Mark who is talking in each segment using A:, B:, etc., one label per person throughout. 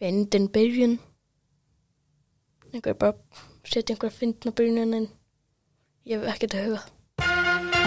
A: fyndin byrjun einhver bara setja einhver fyndna byrjun en ég hef ekkert að huga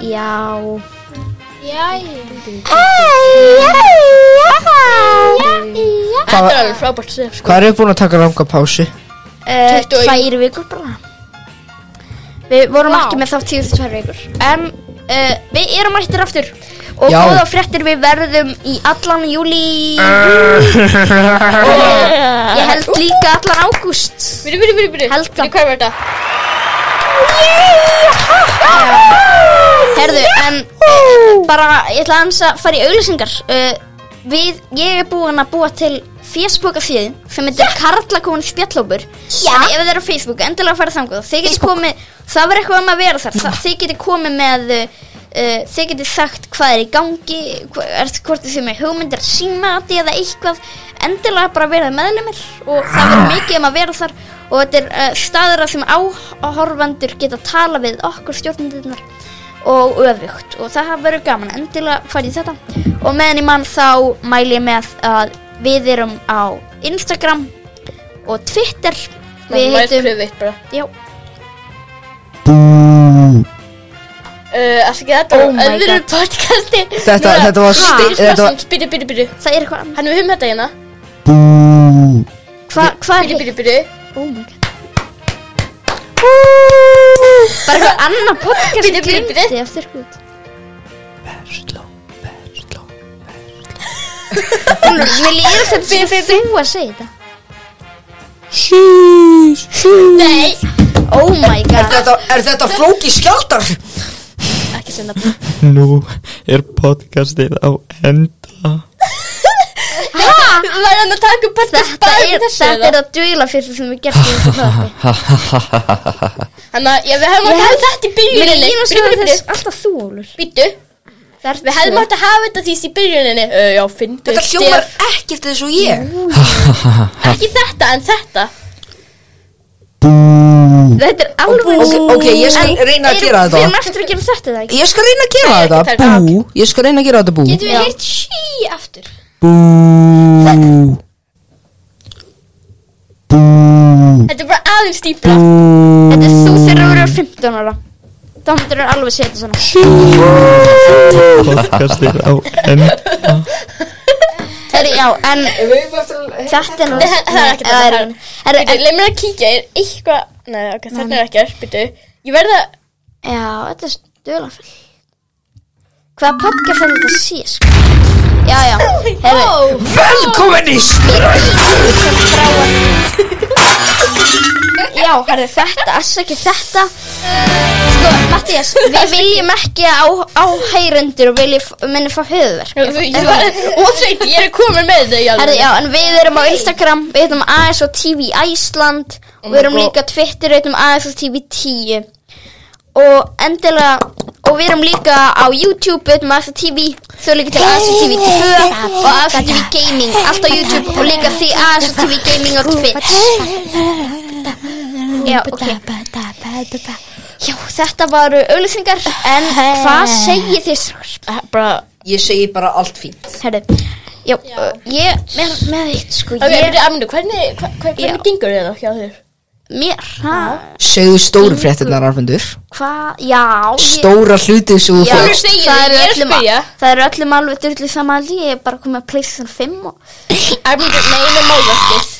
B: Já.
A: þetta er alveg frábært stef sko.
C: Hvað eru búin að taka langa pásu?
B: Eh,
A: 21.
B: Tvær vikur bara. Við vorum ekki með þátt síðustu tvær vikur. En uh, við erum mættir aftur. Og
C: Já.
B: góða fréttir við verðum í allan júli. Og ég held líka allan ágúst.
A: byrju, byrju, byrju, byrju,
B: Helga.
A: byrju, hvað er þetta?
B: Herðu, en eh, bara ég ætla aðeins að fara í auglýsingar uh, Við, ég er búin að búa til Facebooka fjöðu sem heitir yeah. Karlakóin spjallhópur Þannig ef þið eru á Facebook, endilega fara þanguð Þið getið komið, það var eitthvað um að vera þar það, Þið getið komið með uh, uh, Þið getið sagt hvað er í gangi hva, er, Hvort þið séu með hugmyndir símati eða eitthvað Endilega bara verið meðlumir Og það verður mikið um að vera þar Og þetta er uh, staður að sem áhorfandur geta tala við okkur stjórnendurnar og öfugt og það hafa verið gaman endilega farið í þetta og meðan í mann þá mæli ég með að við erum á Instagram og Twitter við heitum
A: við heitum bara
B: já,
A: uh, allt ekki þetta
B: Oh
A: oh
B: my
A: öðru
B: God.
A: podcasti
C: Þetta- þetta var sti- þetta var-
A: byrju, byrju, byrju
B: það er eitthvað annað
A: hann er við höfum þetta hérna
B: Hva,
A: byrju,
B: hvað er hitt?
A: byrju, byrju
B: Oh my god bara eitthvað annað podcast
A: Bíddu, bíddu, bíddu.
B: glimti eftir hlut Úlfur, mér líður þetta sem þú að segja þetta
A: nei,
B: oh my
C: Er
B: god
C: þetta, er þetta flóki skjaldar?
A: ekki senda bara
D: Nú er podcastið á enda
A: var hann að taka upp podcast
B: þetta
A: bara
B: er,
A: um þessu
B: þetta er að dvíla fyrir sem við gertum í þessu hlaði
A: þannig að já, við hefum átt að
B: Ég
A: hafa
B: held-
A: þetta í
B: Mér
A: byrjuninni Bíddu,
B: líður sem
A: bíddu,
B: að
A: bíddu.
B: þess alltaf þú, Ólur
A: Býtu, við hefðum átt að hafa þetta því í byrjuninni uh, Já, fyndu
C: Þetta hljómar ekkert eins og ég
A: Ekki þetta, en þetta
B: Þetta er alveg
C: Ok, ok, ég skal reyna að gera þetta.
B: Við erum eftir að gera þetta, eða ekki?
C: Ég skal reyna að gera
A: Nei,
C: þetta
A: þetta er-
C: Bú, ég skal reyna að gera þetta bú
A: Getum
B: Já.
A: við heyrt sí aftur
C: Bú
A: Þetta er bara aðeins dýpra
B: Þetta er þú þegar þú eru 15 ára Þá myndir þú alveg setja svona
D: Podcastið á enda
B: Herri, já, en þetta er nú
A: Nei, það er ekki
B: Eða
A: þetta
B: er- Herri,
A: Býtu,
B: en-
A: leið mér að kíkja, er eitthvað Nei, ok, þetta er ekki, býtu Ég verða,
B: Já, þetta er stöðlafell Hvaða podcast er þetta Oh sé, sko? Já, já, herri
C: Velkomin í
B: Já, herri, þetta, ekki þetta Sko, Mattias, við viljum ekki á, áhærendur og viljum minni fá höfðverk
A: ég verða Ósveit, ég er komin með þetta í
B: Herri,
A: alveg
B: já, en við erum á Instagram, við heitum ASO TV Æsland og við erum líka á Twitter, við heitum ASO TV 10 og endilega og við erum líka á YouTube við heitum ASO TV, þau eru líka til ASO TV 2 og ASO TV Gaming allt á YouTube og líka því ASO TV Gaming á Twitch Já, ok Já, þetta varu auðlýsingar en hvað segir þið strákar?
A: Bara,
C: Ég segi bara allt fínt
B: Herri, já, uh, ég, með, með eitt sko,
A: ok,
B: ég
A: býtu, Aminu, hvernig hva- hva-
B: Já.
A: Hvernig gengur þetta hjá þér?
B: Mér, hæ?
C: Segðu stóru fréttinnar Arfundur
B: Hvað? Já, ég,
C: Stóra hlutið sem þú
B: já
A: Þú
C: fórst
A: segir
B: það
A: það, ég
B: eru
A: er að
B: öllum-
A: spyrja.
B: Það eru öllum alveg dyrlu saman að ég er bara komið að pleysa þann fimm og
A: Aminu, nei, með málverkið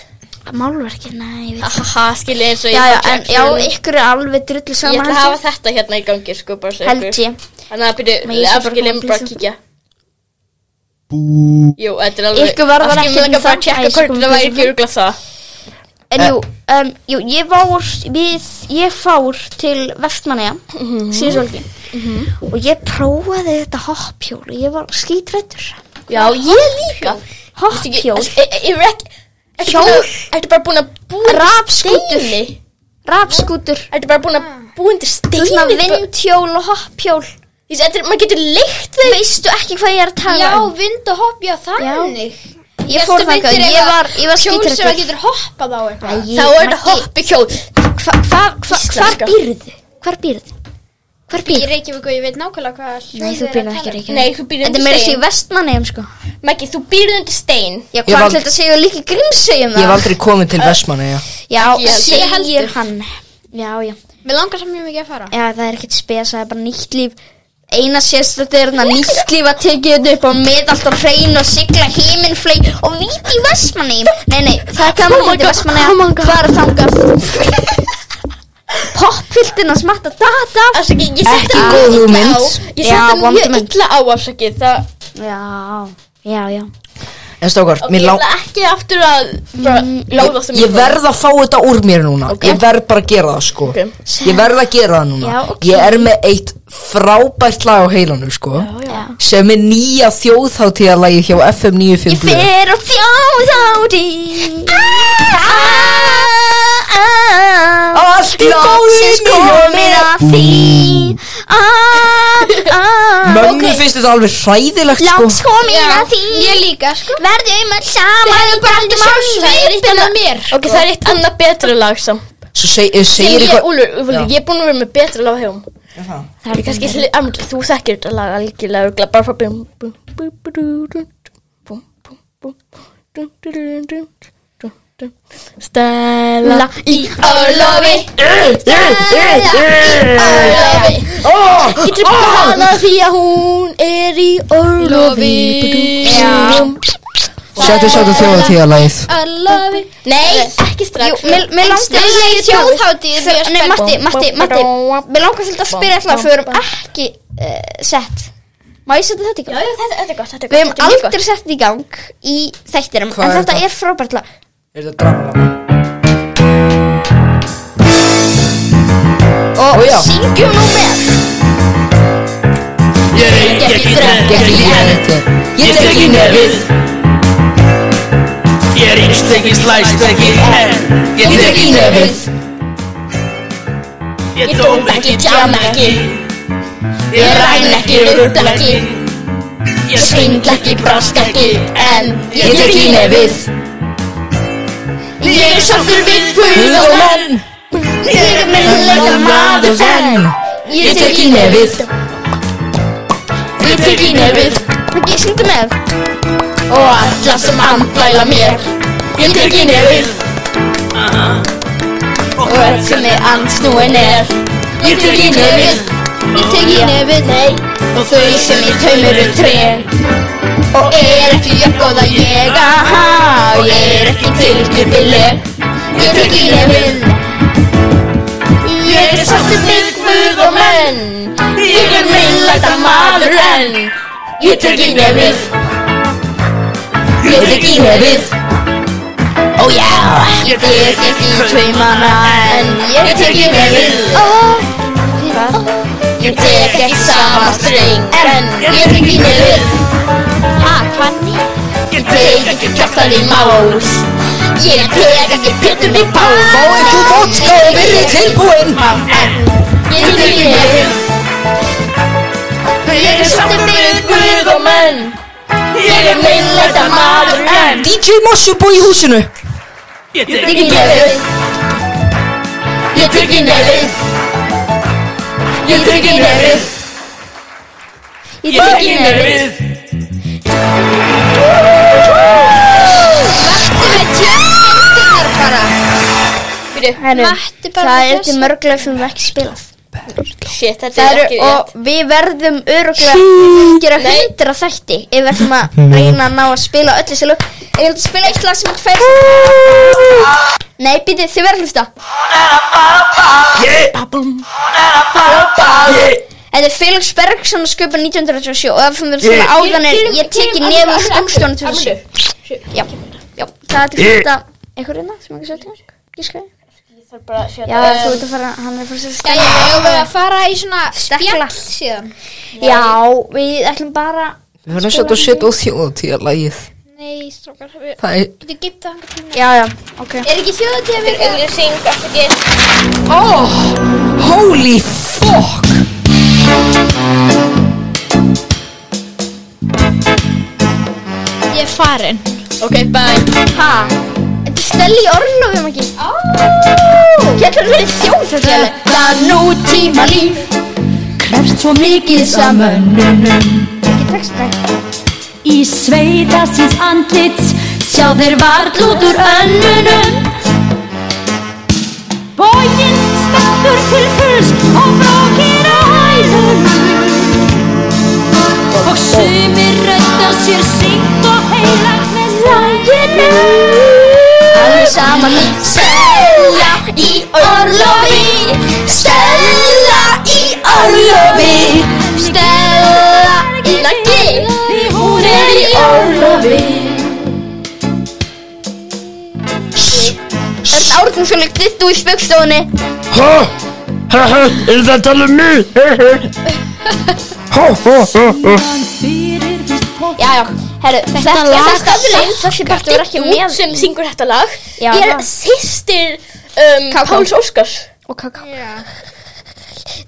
B: málverkið, nei, ég veit ekki.
A: Aha, skilja eins og
B: Ah, Já, já,
A: tók
B: en já,
A: actually-
B: ykkur er alveg dyrlu
A: Ég
B: saman
A: ætla að hafa þetta hérna í gangi sko bara svo
B: held ég.
A: Þannig að
B: Men ég
A: byrju,
B: sé bara
A: afskiljum
B: komið
A: bara
B: blísa.
A: að kíkja Jú, þetta er alveg
B: Ykkur varðar
A: afskiljum
B: ekki um
A: langar bara að
B: það. Æ,
A: tjekka
B: svo
A: hvort
B: komið
A: þetta væri ekki
B: blísa.
A: örgla það
B: En jú, um, jú ég, var, við, ég fór til Vestmannaja mm
A: Mhm.
B: -hmm. síðsólki og ég prófaði þetta hoppjól og ég var skítrættur
A: Já, ég líka
B: Hoppjól,
A: Ég er ekki ertu
B: Hjól.
A: búin að- Ertu bara búin að búin
B: Rafskútur.
A: steini?
B: rafskútur,
A: Ertu bara búin að búin til steini?
B: svona
A: bara-
B: vindhjól og hoppjól
A: Því að þetta er- maður getur leikt þau
B: Veistu ekki hvað ég er að tala
E: Já,
B: um?
E: vind og hopp, já, þannig
B: Ég fór þangað,
E: myndir
B: ég
E: eitthvað
B: var- ég var
E: Hjól sem
B: skítrættur.
E: það getur hoppað á eitthvað
A: Þá er þetta hoppi kjól
B: Hva, hva, hva, hvar
A: Íslenska.
B: býrðu? Hvar býrðu? Hvar
E: Ég
B: býrðu?
E: reykjum ykkur, ég veit nákvæmlega hvað
B: Nei, þú
E: um.
B: býrðu ekki reykjum
A: Nei, þú býrðu
B: Þetta er
A: undir
B: meira sér
A: stein
B: vestmannegjum sko
A: Maggi, þú býrðu undir stein
B: Já,
C: Ég
B: hvað
C: hef
B: ætli
C: aldrei-
B: þetta segja líka grímsegjum
C: Ég hef aldrei komið til Vestmanna, já.
B: Já,
A: Ekki ég
B: segir
A: heldur.
B: hann Já, já,
E: Mér langar samt mjög mikið að fara
B: já, það er ekkert spes Það er bara nýtt líf Eina sérstætt er þarna nýtt líf að tekið þetta upp á með allt á hrein og sigla himinflei og víti í Vestmanni Nei, nei, það er gaman að víti Vestmanni oh Hvar er þangað? Poppfylgdina smatta data
A: Afsaki, ég setti
C: Ekki
A: hann mjög
C: góð
A: illa
C: hugmynd.
A: á Ég
B: Já,
A: setti hann
B: vond
A: mjög
B: mynd.
A: illa á afsaki Það,
B: Já, já, já
C: En stókar,
A: ok,
C: mér
A: ég
C: lá...
A: ætla ekki aftur að bara láða það
C: Ég verð að fá þetta úr mér núna
A: Ok.
C: Ég verð bara að gera það sko
A: Ok.
C: Ég verð að gera það núna
B: Já, ok.
C: Ég er með eitt frábært lag á heilanum sko Sem er nýja þjóðháttíðarlagi hjá FM 95
B: Ég fer og þjóð á því Ah,
C: Allt í góðinu
B: komin að því Ah,
C: Mömmu finnst þetta alveg hræðilegt sko
B: Látt komin að því
E: Ég líka, sko
B: Verðum öll saman Við bara aldrei
E: Það er eitt annað mér
A: Ok, það er eitt annað betra lag samt
C: Svo seg, eh,
A: Sem
C: segir
A: ég,
C: eitthvað
A: Úlfur, Úlfur,
C: Já.
A: ég er búin að vera með betra lag á hefum
C: Ég
A: Það er kannski hli, amr, þú þekkir þetta lag algjörlega örugglega, bara frá bum, bum, bum, bum, bum, bum, bum, dum, dum, dum, dum, dum, dum. Stella í orlofi
C: Ah!
A: Getur bara hana því að hún er í orlofi
C: Sjáttu, sjáttu þjóðháttíðarlagið
E: I love it
A: Nei, ekki strax
B: Mér langt að
E: Stella í þjóðhátíð er mjög
B: Nei,
E: spennt.
B: Matti, Matti, Matti Mér langar svolítið að spyrja alltaf Fyrir um ekki eh, sett Má ég setja þetta í gang?
A: Já, já, þetta þetta er gott, þetta er gott
B: Við hefum
A: þetta er mjög gott.
B: aldrei sett þetta í gang í þættinum
C: Hvað
B: En
C: er
B: þetta
C: þetta?
B: er frábært lag
C: Er þetta dramalag?
B: Og
C: Ó, já.
B: syngjum nú með
F: Ég er ekki drengt,
C: Ég tek í nefið Ég tek í nefið
F: ég er ekki stekki slæst ekki enn Ég
C: Ég tek í nefið
F: ég dóm ekki, tjám ekki Ég ræn ekki, rugl ekki Ég svindl ekki, brast ekki enn
C: Ég tek í nefið
F: Ég er sáttur við
C: Guð
F: guð
C: og
F: og menn
C: menn
F: Ég er meðlega maður venn
C: Ég tek í nefið
F: Ég tek í nefið
B: Ég syngjum með Oh,
F: og alla sem andvæla mér Ég tek í nefið
B: Oh,
F: og öll sem er ansnúin er Ég tek í nefið
B: Ég tek í nefið Nei
F: og þau sem í taumuru tré
B: Oh,
F: og er ekki jöfn að ég aha, og ég er ekki tilkjöpileg ég tek í nefið ég er sáttur með guð og menn ég er meðlæta maður enn ég tek í nefið
C: Ég tek í nefið
F: ó já, Oh, ég tek ekki í taumana enn ég tek í nefið ég tek ekki sama streng enn ég tek í nefið
B: Ha, hvernig?
F: Ég tek ekki kjaftan í más Ég tek ekki pétum í pás
C: Fá ykkur vodka og verið tilbúinn
F: Ég tek ekki nefn Ég er sáttur við guð og menn Ég er meinleita maður enn
C: DJ Mossubó í húsinu
F: Ég tek ekki nefn Ég tek ekki nefn Ég tek ekki nefn Ég tek ekki nefn
B: Matti bara Það er til mörglega sem við ekki spilað
A: Shit, þetta
B: Það
A: er
B: eru
A: ekki
B: og
A: rétt
B: við verðum öruglega að gera hundra þætti Ef við ætlum að reyna að ná að spila öll þessi lög Ef við ætlum að spila eitt lag sem ekki fæst Nei, býti, þið verður að hlusta Þetta er Felix Bergson að sköpa 1937 og ef við erum svona áðan er ég teki nefn úr stungstjónu 2007. Já, já, það er þetta einhver reyna hérna sem ekki sögði. sko
A: bara að sjá
B: Já, þú ert að fara, hann er að fara sér að
E: Já,
B: skæla
E: já, já, við að fara í svona
B: Stekla.
E: spjall síðan
B: Já, við ætlum bara
C: Við höfum sett og sett og þjóðtíðalagið
E: Nei, strókar, við
C: Það er
E: getum gimt það einhvern tímann.
B: Já, já, ok
E: Er ekki þjóðatíð að vera?
A: Auglýsing, afsakið
C: oh, Holy fuck
E: Ég er farin
A: Ok, bye
B: Ha? Þetta er Stelli í orlofum ekki Getur það verið þjóð þetta
F: Þetta nútíma líf Krefst svo mikið samönnunum
B: Ekki texta
F: Í sveita síns andlits Sjá þeir varl út úr önnunum Bógin stappur til fulls Og brókir á hælunum Og sumir röddar sér syngt og heilagt með læginu
B: Alveg saman
F: Stella í orlofi Stella í orlofi Stella í lagi Því hún er í orlofi
B: Örn Árnum svo líkt dittu í spöggstofunni
D: Ha? Ha ha, er það að tala um mig? Ha ha Ha ha ha ha
B: Já, já, herru, þetta
A: lag-
B: Þetta lag Þessi partur var ekki
A: Hún
B: með
A: sem syngur þetta lag
B: Já,
A: Ég er
B: það.
A: sýstir um,
B: Káká.
A: Páls Óskars
B: Og kaka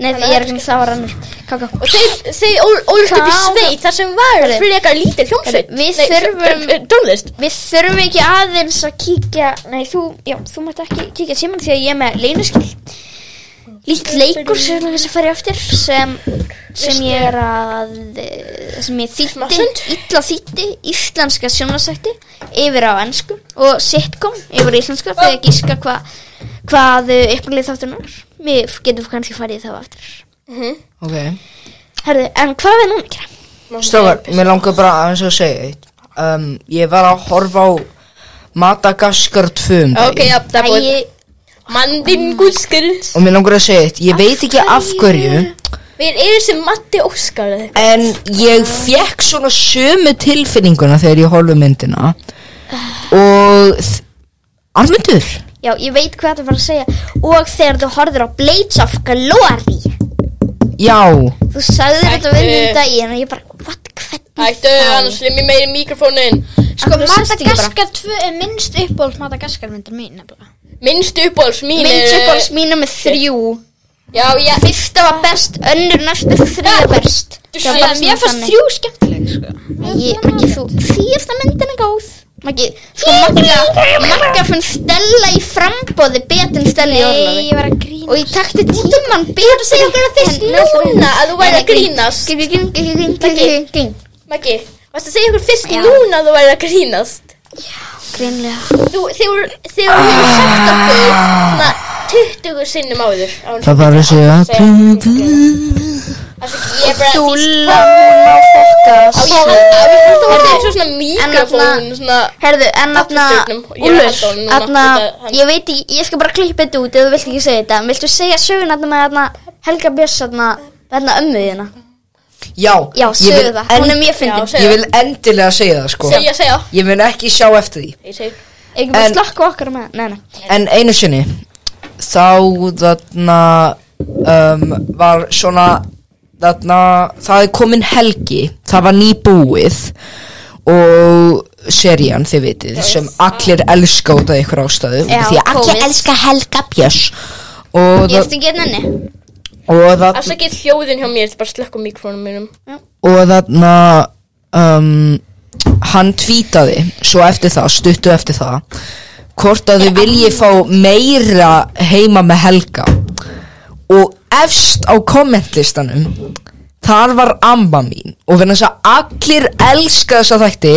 B: Nei, ég er ekki með það var annars Kaka
A: Og þeir, þeir ólust upp í
B: Káká.
A: sveit þar sem var
B: Herri.
A: frekar lítil hljómsveit
B: Herri, við
A: Nei,
B: þurfum-
A: eh, eh, Tónlist
B: Við þurfum ekki aðeins að kíkja Nei, þú, já, þú mátt ekki kíkja síman því að ég er með leynuskilt Lít leikur sem þess að fara í eftir sem, sem ég er að eh, sem ég þýtti
A: Smasund?
B: illa þýtti íslenska sjónvarsætti yfir á ennsku og sitcom yfir á íslenska þegar ég gíska hva, hvað uppalið þáttunum er Við getum kannski farið í þá aftur
C: Ok
B: Herðu, en hvað er núna ekki?
C: Stofar, mér langar bara aðeins að segja eitt um, Ég var að horfa á Madagaskar 2 um daginn.
A: Ok, já, það er búið Mandin gúskur
C: Og mér langar að segja eitt Ég veit ekki af hverju
A: Við erum sem Matti Óskar eða eitthvað.
C: En ég fekk svona sömu tilfinninguna þegar ég horfði á myndina Og þ- Armundur
B: Já, ég veit hvað það var að segja og þegar þú horfir á Blades of Glory
C: Já
B: Þú sagðir þetta við
A: Ættu.
B: minn daginn og ég bara, what, hvernig
A: Ættu, annars lemmi meiri mikrofónin
E: Sko,
B: Akkur sést ekki bara.
E: Madagaskar 2 er minnst uppbóls Madagaskar myndin mín nefnilega
A: Minnst uppáhalds mín er-
B: Mynd uppáhalds mínu með þrjú
A: Já, já,
B: Fyrsta var best, önnur næstu þrjú er best Það var bara
E: Mér
B: svona
E: fannst
B: þannig.
E: þrjú skemmtileg sko.
B: Nei, ég- Maggi, þú, síðasta myndin er góð Maggi, sko Magga Magga fann Stella í frambóði betur en Stella í
E: Nei, ég
B: orðlafi
E: var að grína
B: Og ég takti tíman betur að segja okkur að
A: Fyrst núna að þú væri að grínast
B: Grínlega
A: Maggi, varst að segja okkur fyrst núna að þú væri að grínast Þú, þegar þú hefur sagt okkur svona 20 sinnum áður á hann.
C: Það var þessi að
A: Það sem ég bara
B: Dúlla hún á fokkas
A: Ég held að við höfum að vera svona
B: En
A: mikrofón
B: þarna-
A: Svona
B: Herðu, en
A: Allir
B: aðna,
A: stjórnum. Ég er að
B: Úlfur,
A: halda honum núna,
B: aðna,
A: þetta- hann-
B: ég veit ekki, ég skal bara klippa þetta út ef þú vilt ekki segja þetta. Viltu segja sögun aðna með aðna Helga Björns aðna, aðna ömmu þína?
C: Já,
B: Já,
C: ég
B: sögðu
C: vil
B: það, hún er mjög fyndin.
A: Já, segðu
C: Ég vil endilega segja það sko
A: Segja, segja
C: Ég mun ekki sjá eftir því
A: Ég segi
B: Ekki bara
C: En-
B: slakka á okkar með, nei, nei.
C: En einu sinni Þá þarna um, Var svona Þarna Það er komin helgi Það var nýbúið Og serían þið vitið Sem allir elska út af ykkur ástæðu
B: Já,
C: Því að
B: COVID.
C: allir elska helga björs Og,
B: Ég
C: það,
B: eftir ekki hérna henni.
C: og, það,
A: Afsakið hljóðin hjá mér, ég ætla bara að slökka á mikrofónum mínum
C: og þarna um, hann tvítaði svo eftir það, stuttu eftir það hvort að þau vilji fá meira heima með Helga og efst á kommentlistanum þar var amma mín og fyrir þess að allir elska þessa þætti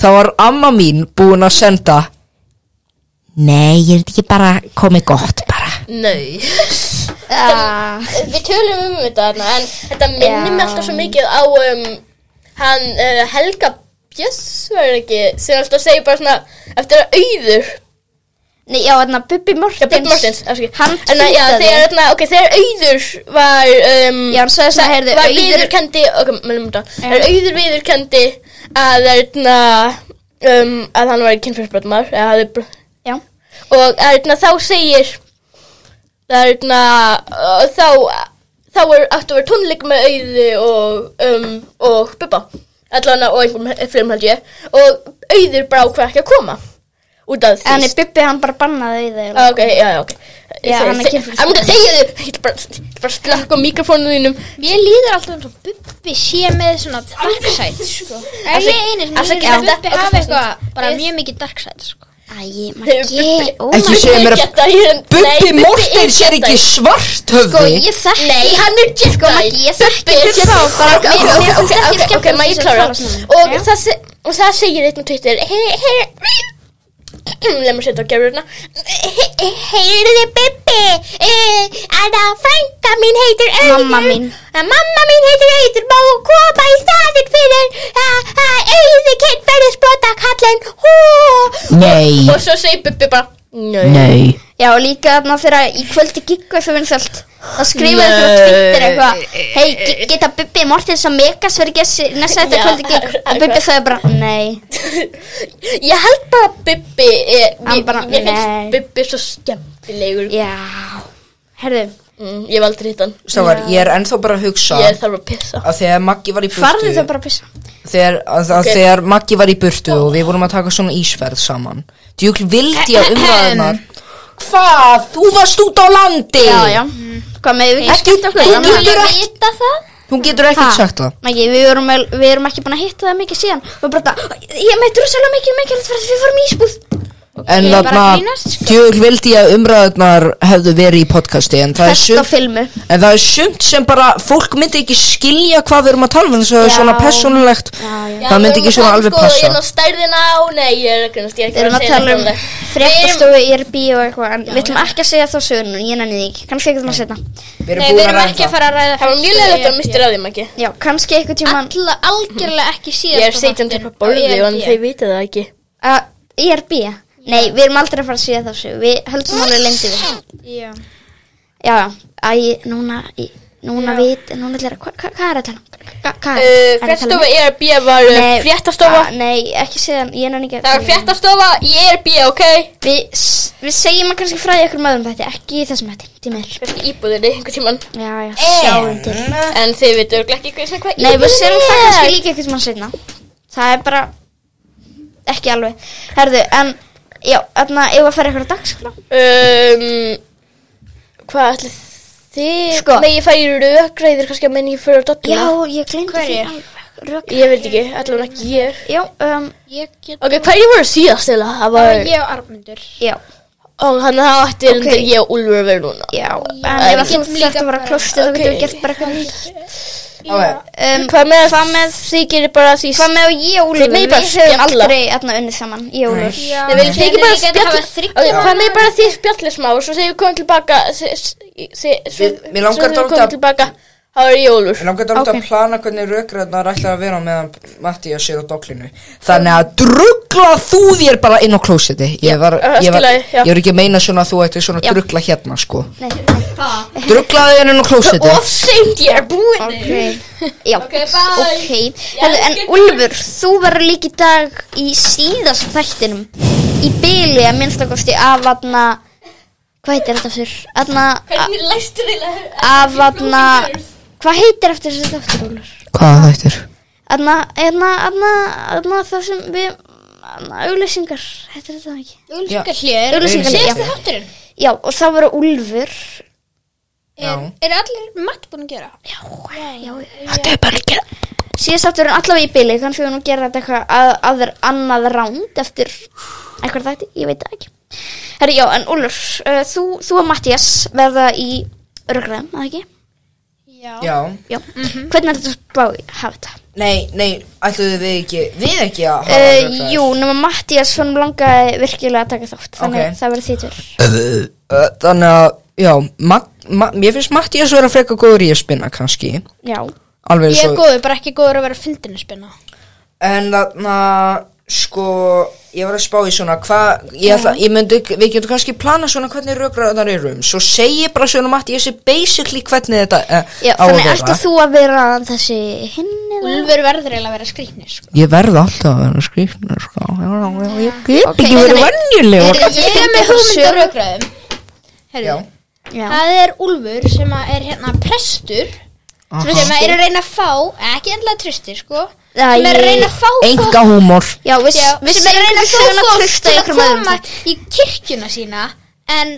C: þá var amma mín búin að senda Nei, ég er þetta ekki bara komið gott bara
A: Nei
B: Ah,
A: Við tölum um þetta þarna En þetta minnir mig alltaf svo mikið á um, Hann uh, Helga Bjöss var það ekki Sem alltaf segir bara svona Eftir að auður
B: Nei, já, aðna Bubbi Mortens.
A: Já, Björn Mortens, afsakið
B: Hann
A: En að, já, þegar,
B: tweetaði.
A: hérna, ok, þegar auður var um,
B: Já, hann sagði svona, heyrðu,
A: Var
B: Auður-
A: viðurkendi, ok, meðlum þetta Þegar auður viðurkendi að, hérna, um, að hann var kynfyrsbrotmar Eða hafði, br-
B: Já,
A: og erna, þá segir erna, og þá þá er áttu að vera tónleik með auðu og um, og bubba allan og einhverjum frum held ég og auður bara ákveð ekki að koma út af því
B: En Bubbi hann bara bannaði þau
A: Ah, Ok, já, já, ok
B: Já, hann er
A: Sorry,
B: kynferðis-
A: I'm gonna segja þér Ég ætla bara, ég ætla bara að slakka á mikrofónu þínum
E: Mér líður alltaf eins og Bubbi sé með svona darkside, sko. En ég einu sem
A: afsakið
E: líður
A: þetta,
E: að Bubbi
A: ok,
E: hafi
A: fyrst.
E: eitthvað, bara
A: Við-
E: mjög mikið darkside, sko.
B: Æ, Maggi,
A: Bubbi-
B: oh
C: Ekki
B: my
C: segja mér að-
A: Geta, ég,
C: Bubbi Mortens er
A: Jedi.
C: ekki svart
B: Sko,
C: höfði
B: ég þekki
A: Nei, hann er Jedi Sko,
B: Maggi, ég þekki ekki þá, bara-
A: Ok, ok,
B: mér- mér
A: ok,
B: finnst
A: ok,
B: ekki
A: ok,
B: skemmtilegt
A: maður ég
B: að
A: klára
B: tala svona.
A: Og
B: Já.
A: það se- og það segir eitt með Twitter Hei, hei Leð mér setja á gerurna Heyrðu Bubbi eh, Anna frænka mín heitir Auður
B: Mamma mín.
A: Eh, Mamma mín heitir Auður Má hún koma í staðinn fyrir eh, eh, Auður kynnt verður sprota kallinn
C: Nei.
A: Og svo segir Bubbi bara Nei
C: Nei
B: Já, og líka þarna þegar í kvöldi giggu eitthvað vinsalt Það skrifaði
C: Nei.
B: eitthvað á Twitter eitthvað Hei, ge- geta Bubbi Mortens að megas verið gessi næsta þetta
A: Já,
B: kvöldi giggu Og Bubbi sagði bara, nei
A: Ég held bara að Bubbi eh,
B: Hann
A: Mér
B: bara,
A: mér
B: nei.
A: finnst Bubbi svo skemmtilegur
B: Já, herðu
A: mm, Ég hef aldrei hitt hann
C: Sávar, ég er ennþá bara að hugsa
A: Ég þarf að pissa
C: að þegar Maggi var í
B: Farðu þau
C: burtu
B: bara að pissa
C: þegar, að, að
A: Ok.
C: þegar Maggi var í burtu og við vorum að taka svona ísferð saman djúkl vildi að umræðunar Hvað? Þú varst út á landi
B: Já, já, hvað með við
C: Ekki-
B: skemmt okkur
C: þú
B: Þannig að
C: getur
B: ég
C: ekki-
B: vita það
C: Hún getur ekkert sagt það
B: Maggi, við erum, við erum ekki búin að hitta það mikið síðan Við bara þetta, ég meitt rosalega mikið mikilvægt fyrir að við fórum í ísbúð
C: En
B: Ég er bara að
C: þarna,
B: grínast, sko.
C: djúkl vildi að umræðunar hefðu verið í podcasti en það, er
B: Fest á
C: sumt,
B: filmu
C: en það er sumt sem bara fólk myndi ekki skilja hvað við erum að tala um þess að það er
B: Já.
C: svona persónulegt það myndi ekki svona alveg
A: Ég er
C: passa
A: að stærðina sko hérna á, nei, ég er ekki ég er
B: Við
A: ekki að
B: erum að
A: segja
B: tala
A: þetta
B: um
A: alveg.
B: fréttastofu, IRB og eitthvað En við ætlum ekki að segja þá söguna, ég nenni því ekki Kannski eitthvað maður setna
C: Við
E: Nei, við erum ekki að fara að ræða
A: Það var mjög leiðilegt að mista ráðum ekki
B: Já, kannski eitthvað tíman
E: Alla, algjörlega ekki síðast.
A: Ég er
B: sko
A: setjandi upp á
E: E
A: borði og þeir vita það ekki
B: uh, IRB Nei, við erum aldrei að fara að segja þá sögu Við höldum alveg lengi við
E: Já.
B: Já, já, æ, núna, í- núna vit, núna ætlar, hvað hva, hva er að tala? um? Hva- Hvað er er að tala
A: Eh,
B: um?
A: Fréttastofa ERB var uh,
B: Nei,
A: fréttastofa
B: ah, Nei, ekki segja, ég nenni ekki að- hérna.
A: Það var fréttastofa í ERB, ok?
B: Við, s- við segjum að kannski fræði ykkur maður um þetta Ekki í þessum þetta, tímir
A: Kannski íbúðinni einhvern tíman
B: Já, já,
A: Eh.
B: sjáum til
A: En þið veitu örugglega ekki hvað- hvað
B: Nei, við
A: íbúðin
B: séum það
A: er.
B: kannski líka eitthvað sem hann setna Það er bara Ekki alveg Herðu, en Já, þarna, ef að fara eitthvað dagskrá
A: um, Hvað ætli þið
B: Sko.
A: Nei, ég færi rökræðir kannski að menn ég fyrir að
B: Já,
A: dolla
B: ég glemdi því
E: Hverjir?
B: alveg Rök
A: Ég veit ekki, allavega ekki ég
B: Já, um,
E: Ég get...
A: Ok, hverju voru síðast eða? Það
E: Það
A: var
E: var ég og Armundur.
B: já,
A: Og hann það ætti
B: Ok.
A: undir ég og Úlfur að vera núna
B: já En ef að þú
E: getum
B: þarft
E: líka
B: að vera
E: bara-
B: klostið þá
A: ok.
B: getum við gert bara eitthvað nýtt um,
A: Hvað með, hvað með þið gerir bara því
B: Hvað með að ég og Úlfur,
A: Þið megið bara
B: við höfum
A: spjalla.
B: aldrei Þarna unnið saman, ég og Úlfur
E: Já.
A: Nei, við þið ekki bara
E: Ég geti hafa
A: spjall
E: þriggja
A: Ok, hvað með bara þið spjallir smá og svo þegar við komum tilbaka se- se- se- svo-
C: Við- mér
A: svo
C: langar
A: þegar
C: dálítið
A: við komum
C: að-
A: tilbaka þá er ég og Úlfur
C: Ég langar dálítið að plana hvernig rökræðnar ætlar að vera meðan Mattías er á doklinu Þannig að druggla þú þér bara inn á klósiti Ég var,
A: Já,
C: ég
A: allt
C: var,
A: í lagi, já.
C: ég var ekki að meina svona að þú ættir svona að druggla hérna sko
B: Nei, nei,
C: Druggla þér inn á klósiti
A: Of seint ég er búinn
B: ok Já, ok, Herðu, En Úlfur, þú verður líka í dag Í síðast þættinum Í byli að minnstakosti af Þarna Hvað heitir þetta fyrir? Þarna,
A: Hvernig læstur þið
B: af aðna hvað heitir eftir þessu þáttur Úlfur?
C: Hvað þættir?
B: aðna, aðna, aðna, aðna það sem við aðna, auglýsingar, heitir þetta ekki?
E: Úlfsika hljöður.
B: Auglýsingar, já.
E: Síðasti þátturinn.
B: Já, og það voru Úlfur
E: Er,
C: Já.
E: er allir matt búin að gera?
B: Já, já, já Þetta er bara að gera Síðast þátturinn allavega í byli, kannski við nú gera þetta eitthvað að, aður annað ránd eftir eitthvað þætti, ég veit það ekki Herri, já, en Úlfur, uh, þú, þú og Mattias verða í örgræðum, að ekki?
E: Já.
C: Já
B: Já,
E: Mhm.
B: hvernig er þetta spáði hafa þetta?
C: Nei, nei, ætluðu við ekki, við ekki að hafa
A: Eh,
B: Uh, jú, nema Mattias hann langaði virkilega að taka þátt Þannig
C: Ok.
B: okay. það verður þýttur
C: Uh, Þannig að, já, Matt, ma, mér finnst Mattías vera frekar góður í að spinna kannski
B: Já,
C: Alveg
E: Ég
C: svo
E: er góður, bara ekki góður að vera fyndin að spinna.
C: En þarna, sko, Ég var að spá í svona hvað, ég, ætla, ég myndi, við getum kannski plana svona hvernig rökraðar eru um, svo segi ég bara svona Matti, ég sé basically hvernig þetta uh,
B: Já,
C: á að
B: þannig
C: vera.
B: ætlar þú að vera þessi hinn eða?
E: Úlfur verður eiginlega að vera skrýtnir sko.
C: Ég verð alltaf að vera skrifnur, sko, Já, já, já, ég get
B: Ok,
C: ekki verið
B: þannig-
C: vennjulegur.
E: Ég er með hugmynd á rauðgræðum
C: Já.
E: Herðu,
B: Já.
E: það er Úlfur sem að er hérna prestur sem að er að reyna að fá ekki endilega tröstir sko sem er að reyna að fá fólk
C: Enga húmor.
B: Já, við,
E: Já,
B: við
E: sem er að reyna að fá
B: að
E: fólk
B: trösta
E: til að
B: ykkur með
E: koma í kirkjuna sína en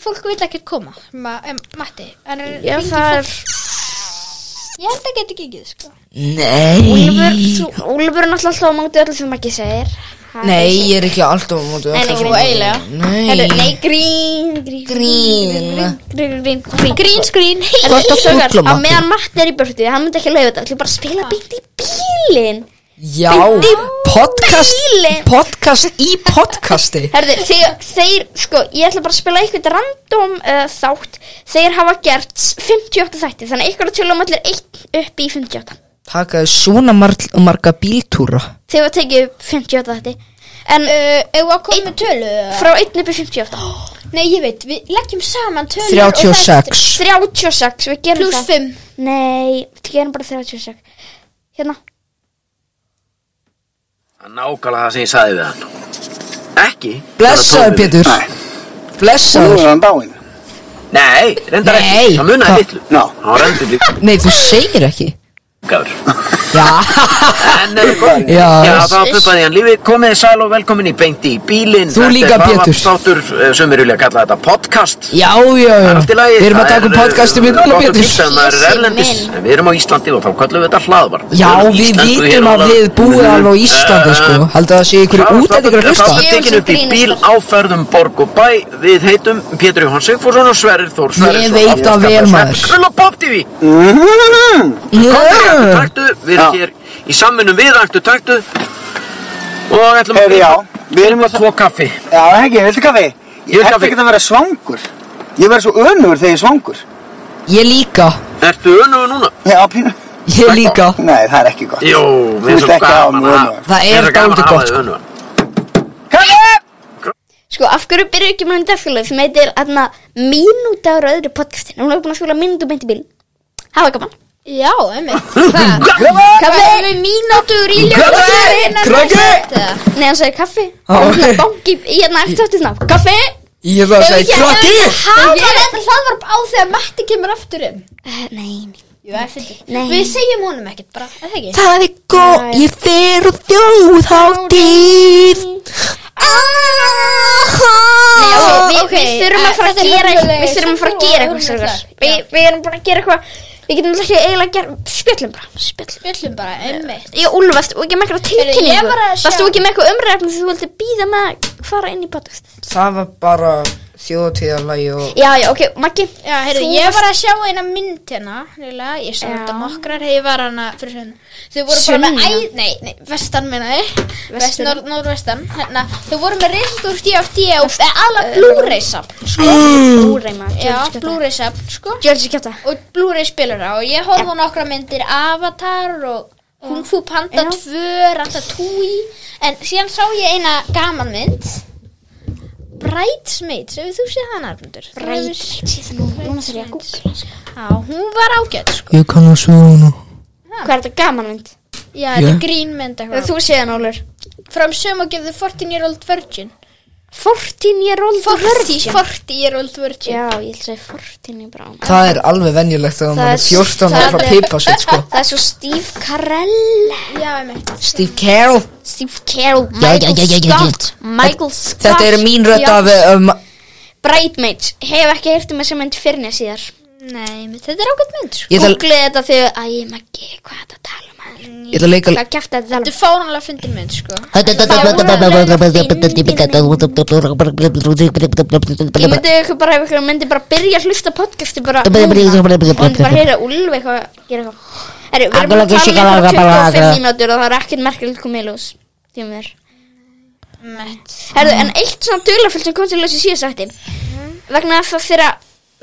E: fólk vil ekki koma Ma, em, Matti, hann er
B: Já,
E: hringdi í
B: það er,
E: fólk. ég held að geta gengið sko.
C: Nei.
B: Úlfur, þú, Úlfur er náttúrulega alltaf á mángu öllu sem ekki segir. Ha,
C: Nei, ég er ekki alltaf á móti.
B: Nei, nei,
C: öllu.
B: nei, eiginlega. Herru,
C: Nei.
B: nei, grín, grín,
C: Grín.
B: grín, grín, grín, grín.
E: green screen
B: Er
C: Þú ert
B: þetta
C: að
B: sögur
C: fugla,
B: á
C: Matti.
B: meðan Matti er í burtu, hann myndi ekki að laufa þetta, ætlum bara að spila beint í bílinn.
C: Já, podcast, podcast í podcasti.
B: Herðu, þeir, þeir, sko, ég ætla bara að spila eitthvað random uh, þátt Þeir hafa gert 58 þætti Þannig að ykkur að tölum allir eitt upp í 58
C: Takaði svona mar marga bíltúra.
B: Þeir var tekið upp 58 þætti En
E: uh, ef að koma með tölu eða?
B: frá 1 upp í 58
E: nei, ég veit, við leggjum saman tölu
C: 36.
B: 36, við gerum
E: pluss
B: það
E: 5
B: Nei, við gerum bara 36 Hérna,
G: Það er nákvæmlega það sem ég sagði við hann. Ekki?
C: Blessaður,
G: Þannig að
C: Pétur.
G: Nei.
H: Nú er
C: Blessaður.
H: hann dáinn.
G: Nei, reyndar
C: Nei.
G: ekki. Það
C: Hva?
G: munnaði litlu.
H: Ná.
G: Hann reyndi líka.
C: Nei, þú segir ekki.
G: Gáður.
C: Já,
G: En, eh,
H: Bubbaði.
C: já.
G: já, þá puppaði hann lífið. Komið þið sæl og velkomin í Beinti í bílinn.
C: Þú líka, Pétur.
G: Státtur, sem er eh, vilja að kalla þetta podcast.
C: Já, já,
G: Það
C: já.
G: er allt í lagi.
C: Við erum að
G: Það
C: taka upp
G: er, eh,
C: podcastum í Rúla
G: gott og fínt
C: Pétur.
G: ef maður er
B: Jessi
G: erlendis.
B: minn.
G: En Við erum á Íslandi og þá kallum við þetta hlaðvarp.
C: Já,
G: erum
C: við
G: Íslandi og
C: vitum
G: erum
C: að
G: á-
C: við búið alveg á
G: Eh,
C: Íslandi, sko. Haldur það sé ykkur út að ykkur að
G: Það
C: hlusta?
G: er tekin upp í bíl áferðum borg og bæ Við heitum Pétur Jóhann Sigfússon og Sverrir Þór Sverrisson
C: Ég veit það vel, maður.
G: Krull og Bob TV
H: Mhm.
G: Komdu í Ættu
C: Já.
G: taktu Við erum
H: Já.
G: hér í samvinnum við Ættu taktu Og ætlum
H: Heyrðu, já. Við erum
G: Vilma
H: að...
G: tvo kaffi
H: Já, ekki, viltu kaffi?
G: Ég vil
H: ætti
G: kaffi.
H: ekki að vera svangur. Ég verð svo önugur þegar ég er svangur.
C: Ég líka.
G: Ertu önugu núna?
H: Já, pínu.
C: Ég líka.
H: Nei, það er ekki gott.
G: Jó,
H: Þú
G: við
H: veist
G: erum
H: ekki að hafa
G: gaman
H: mig
G: að
H: önugan.
C: Það er dálítið gott, sko.
G: önugan
H: Kaffi!
B: sko, af hverju byrjuðu ekki með hundafjölu sem heitir, hérna, mínúta ára öðru podcastin Hún er búin að skjóla mínútu beint í bílinn Hafa gaman
E: já, emmitt hvað
B: Kaffi!
E: er við mínútur í ljóðum krakki
B: Nei, hann sagði kaffi
C: Á,
B: Það er
C: ok.
B: svona banki í hérna eftir þáttið ná Kaffi
C: Ég ætla að segja krakki.
E: hafa þetta hlaðvarp á þegar Matti kemur aftur inn
B: uh, Nei, nei
E: Jú, það er fyndið.
B: Nei.
E: Við segjum honum ekkert bara, er það ekki?
C: Það er góð, ég fer og þjóð hátíð.
B: Nei, ok, við,
E: ok,
B: við þurfum
E: eh,
B: að fara að
E: þetta er
B: gera eitthvað
E: hörmuleg
B: Við þurfum að fara að gera eitthvað
E: hörmuleg
B: strákar.
E: lag.
B: Við við erum bara að gera eitthvað Við getum alltaf ekki eiginlega að gera Spjöllum bara Spjöllum
E: Spjöllum bara, einmitt.
B: Ég og Úlf, varstu ekki með eitthvað
E: Heyrðu, ég
B: tilkynningu
E: var að sjá-
B: Varstu ekki með eitthvað umræfnum Þú vildi býða með að fara inn í podcast
C: Það var bara þjóðtíðalagi og...
B: Já, já, ok, Maggi
E: Já, heyrðu,
B: Þú
E: ég
B: varst-
E: var að sjá eina mynd hérna, nýlega, ég sá
B: Já.
E: þetta nokkrar þegar ég var hana fyrir sunna. Þau voru bara með, æ,
B: Sunna?
E: nei, nei, vestan minna þið, vest,
B: Vestur.
E: norð, norðvestan, hérna, þau voru með reyndur DFD og eh, alla
B: Eh,
E: Blu-ray-safn, sko,
B: Blu-ray maður
E: já,
B: Djöfulsins kjafta.
E: Blu-ray-safn, sko,
B: Djöfulsins kjafta.
E: og Blu-ray spilara og ég horfði á nokkra myndir Avatar og Kung Fu Panda
B: Já.
E: 2, Ratatouille en síðan sá ég eina gaman mynd Bridesmaids, hefur þú séð hana Arnundur?
B: Bridesmaids, ég þarf nú- núna þarf ég að googla,
E: Já, hún var ágætt sko
C: Ég kann að svona.
B: Hvað er þetta gaman mynd?
E: Já,
C: Já.
E: þetta er grínmynd eitthvað
B: Þú séð hann, Úlfur
E: From Sum og gefðu 14 year old virgin
B: 14 year old
E: 40, 40 year old virgin
B: Já, ég ætla að segja 14 í bráðum
C: Það er alveg venjulegt þegar maður er 14 og fara að pipa sér, sko.
B: Það er svo Steve Carell
E: Já, einmitt
C: Steve Carell.
B: Steve Carell,
C: Já,
B: Michael
C: já, já, já, já, já.
B: Scott Michael Scott
C: Þetta er mín rödd
B: Já.
C: af... Um,
B: Bridesmaids, hef ekki heyrt um þessa mynd fyrir nýja síðar
E: Nei, einmitt, þetta er ágætt mynd sko
C: ég ætla
B: Googlið þetta þegar Æ, Maggi, hvað er þetta að tala um aður?
C: ég ætla að leika...
B: Hvað er kæft að
E: Þetta
B: tala
E: er fáránlega fyndin mynd sko
B: um? Ég myndi ykkur bara ef ykkur myndi bara byrja að hlusta podcasti bara núna. og myndi bara heyra Úlf eitthvað gera eitthvað Herru, við erum búin að tala um ykkur 25 mínútur og það er ekkert merkilegt komið í ljós Því mér
E: Einmitt.
B: Herðu, en eitt svona dularfullt sem kom til ljósi síðastætti vegna þess að þegar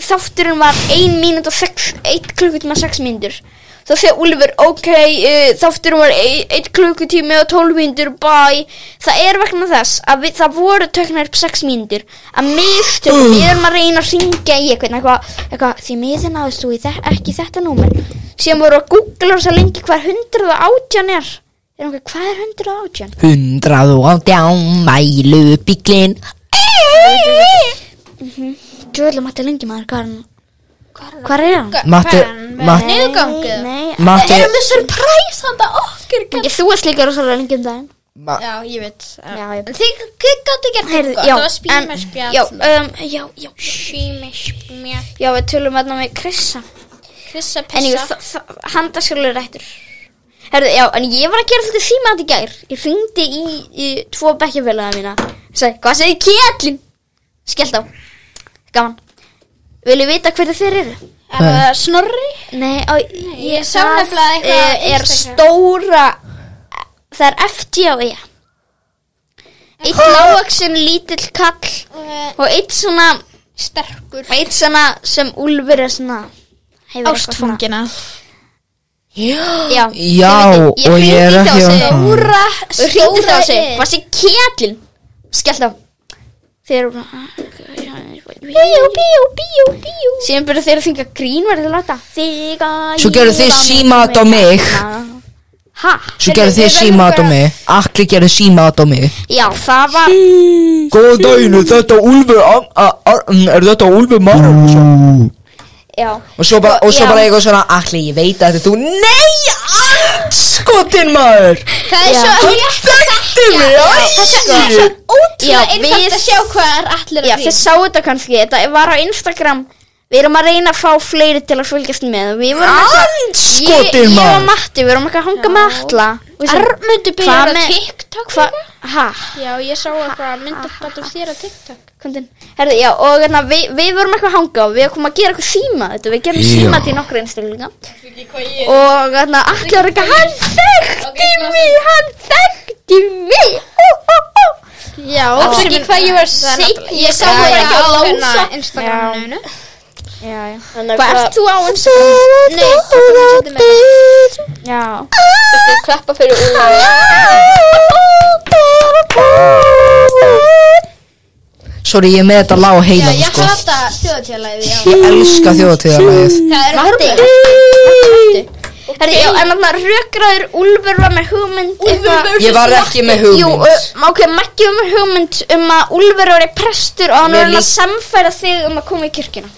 B: þátturinn var 1 mínút og 6, 1 klukkutíma og 6 mínútur þá segja Úlfur, ok, uh, þáttur var ein- einn klukkutími og 12 mínútur, bæ það er vegna þess að við, það voru töknar upp 6 mínútur að mistökum, við erum að reyna að ringja í eitthvað, eitthvað, eitthvað því miður náðist þú í þe ekki þetta númer síðan voru að googla þess að lengi hvað 118 er er einhver, hvað er 118?
C: Hundrað og átján mælu bíklin
B: Djöðlega mætti lengi maður, hvað er hann? Hvað er hann?
C: Matti, Matti,
E: Niðurgangu
B: Nei,
C: Matti
E: með surprise handa okkur gæ-
B: Ég, þú varst líka rosalega lengi um daginn
C: ma-
E: Já, ég veit
B: Já, ég-
E: En Þið þið gátu gert
B: Heyrðu,
E: eitthvað
B: já,
E: Það var
B: en-
E: spíma spjall
B: Já, um, já, já,
E: Spíma spjall
B: já, við tölum hérna með Krissa
E: Krissa
B: En ég,
E: pissa
B: handaskjólur rættur Herðu, já, en ég var að gera svolítið síma þetta í gær Ég hringdi í, í tvo bekkjafélaga mína Sæði, hvað segir kjallin? Skellt á Gaman Viljið vita hverju þeir eru?
E: Er það Snorri
B: Nei, á, ég,
E: ég sá nefnilega eitthvað á
B: er, er
E: Instagram.
B: stóra Það er FG á ég Eitt lágaksin lítill kall
E: Eh,
B: Og eitt svona
E: Sterkur
B: Eitt svona sem Úlfur er svona hefur eitthvað
E: Ástfangina
B: svona- Já,
C: Já,
B: Ég
C: og ég
B: hringdi í
C: er ekki
B: þá og
C: að
B: segi-
E: Úra
B: Og hringdi þá og segi
E: yður.
B: Hvað sé kjallin? Skellt á Þeir eru bara Bíjú, bíjú, bíjú, bíjú Síðan byrja þeir að þingja grín verður að láta Þiga
C: Svo gerðu þið símat á mig
B: Ha?
C: Svo gerðu þið símat á mig Akli gerðu símat á mig
B: Já, það var
C: Góða daginn, er þetta Úlfur Ar- Ar- Ar- Er þetta Úlfur Magnússon?
B: Já
C: Og svo bara,
B: Sko,
C: og svo
B: já.
C: bara eitthvað svona Akli, ég veit að þetta er þú Nei, skotin maður
E: Það er svo
C: Þú þekkti mig, ætti
B: Já,
E: ótrúlega einfalt
B: við-
E: að sjá hvað er allir
B: Já,
E: að
B: þið sáu þetta kannski Þetta var á Instagram Við erum að reyna að fá fleiri til að fylgjast með Við vorum Ég,
C: Andskotin
B: ég og
C: maður
B: Matti, við erum ekki að hanga með alla Og við sem-
E: Armundu
B: Hvað Ah,
E: byrjar á
B: með-
E: TikTok
B: Hva? Ha?
E: Já, ég sá eitthvað myndabbat af þér á TikTok
B: Kondin Herðu, já, og hérna, við, við vorum eitthvað að hanga og við komum að gera eitthvað síma þetta Við gerum síma til nokkra einstaklinga Og hérna, allir er eitthvað Hann þekkti mig, hann þekkti mig Ó, ó, ó
E: Já, það er ekki hvað ég var sýtt Ég sá
B: Já,
E: það
B: já.
E: ekki á
B: Já.
E: lása Instagraminu
B: Já, já
A: Þannig
B: Hvað
A: að
B: ert þú á hans?
E: Nei, það er svolítið með
B: Já
A: þú klappa fyrir Úlfur?
C: Sorry, ég er með þetta lág
E: Já,
C: heila
E: ég
C: sko.
E: hata þjóðatjálæði
C: Ég elska þjóðtíðarlæðið
E: Það er horfið
B: Herðu, já, en þarna rökraður Úlfur var með hugmynd eitthvað-
C: Ég var ekki með
B: Jú,
C: hugmynd
B: uh, ok, Maggi um hugmynd um að Úlfur eru prestur og hann
C: Mér
B: verður að
C: líst-
B: samfæra þig um að koma í kirkina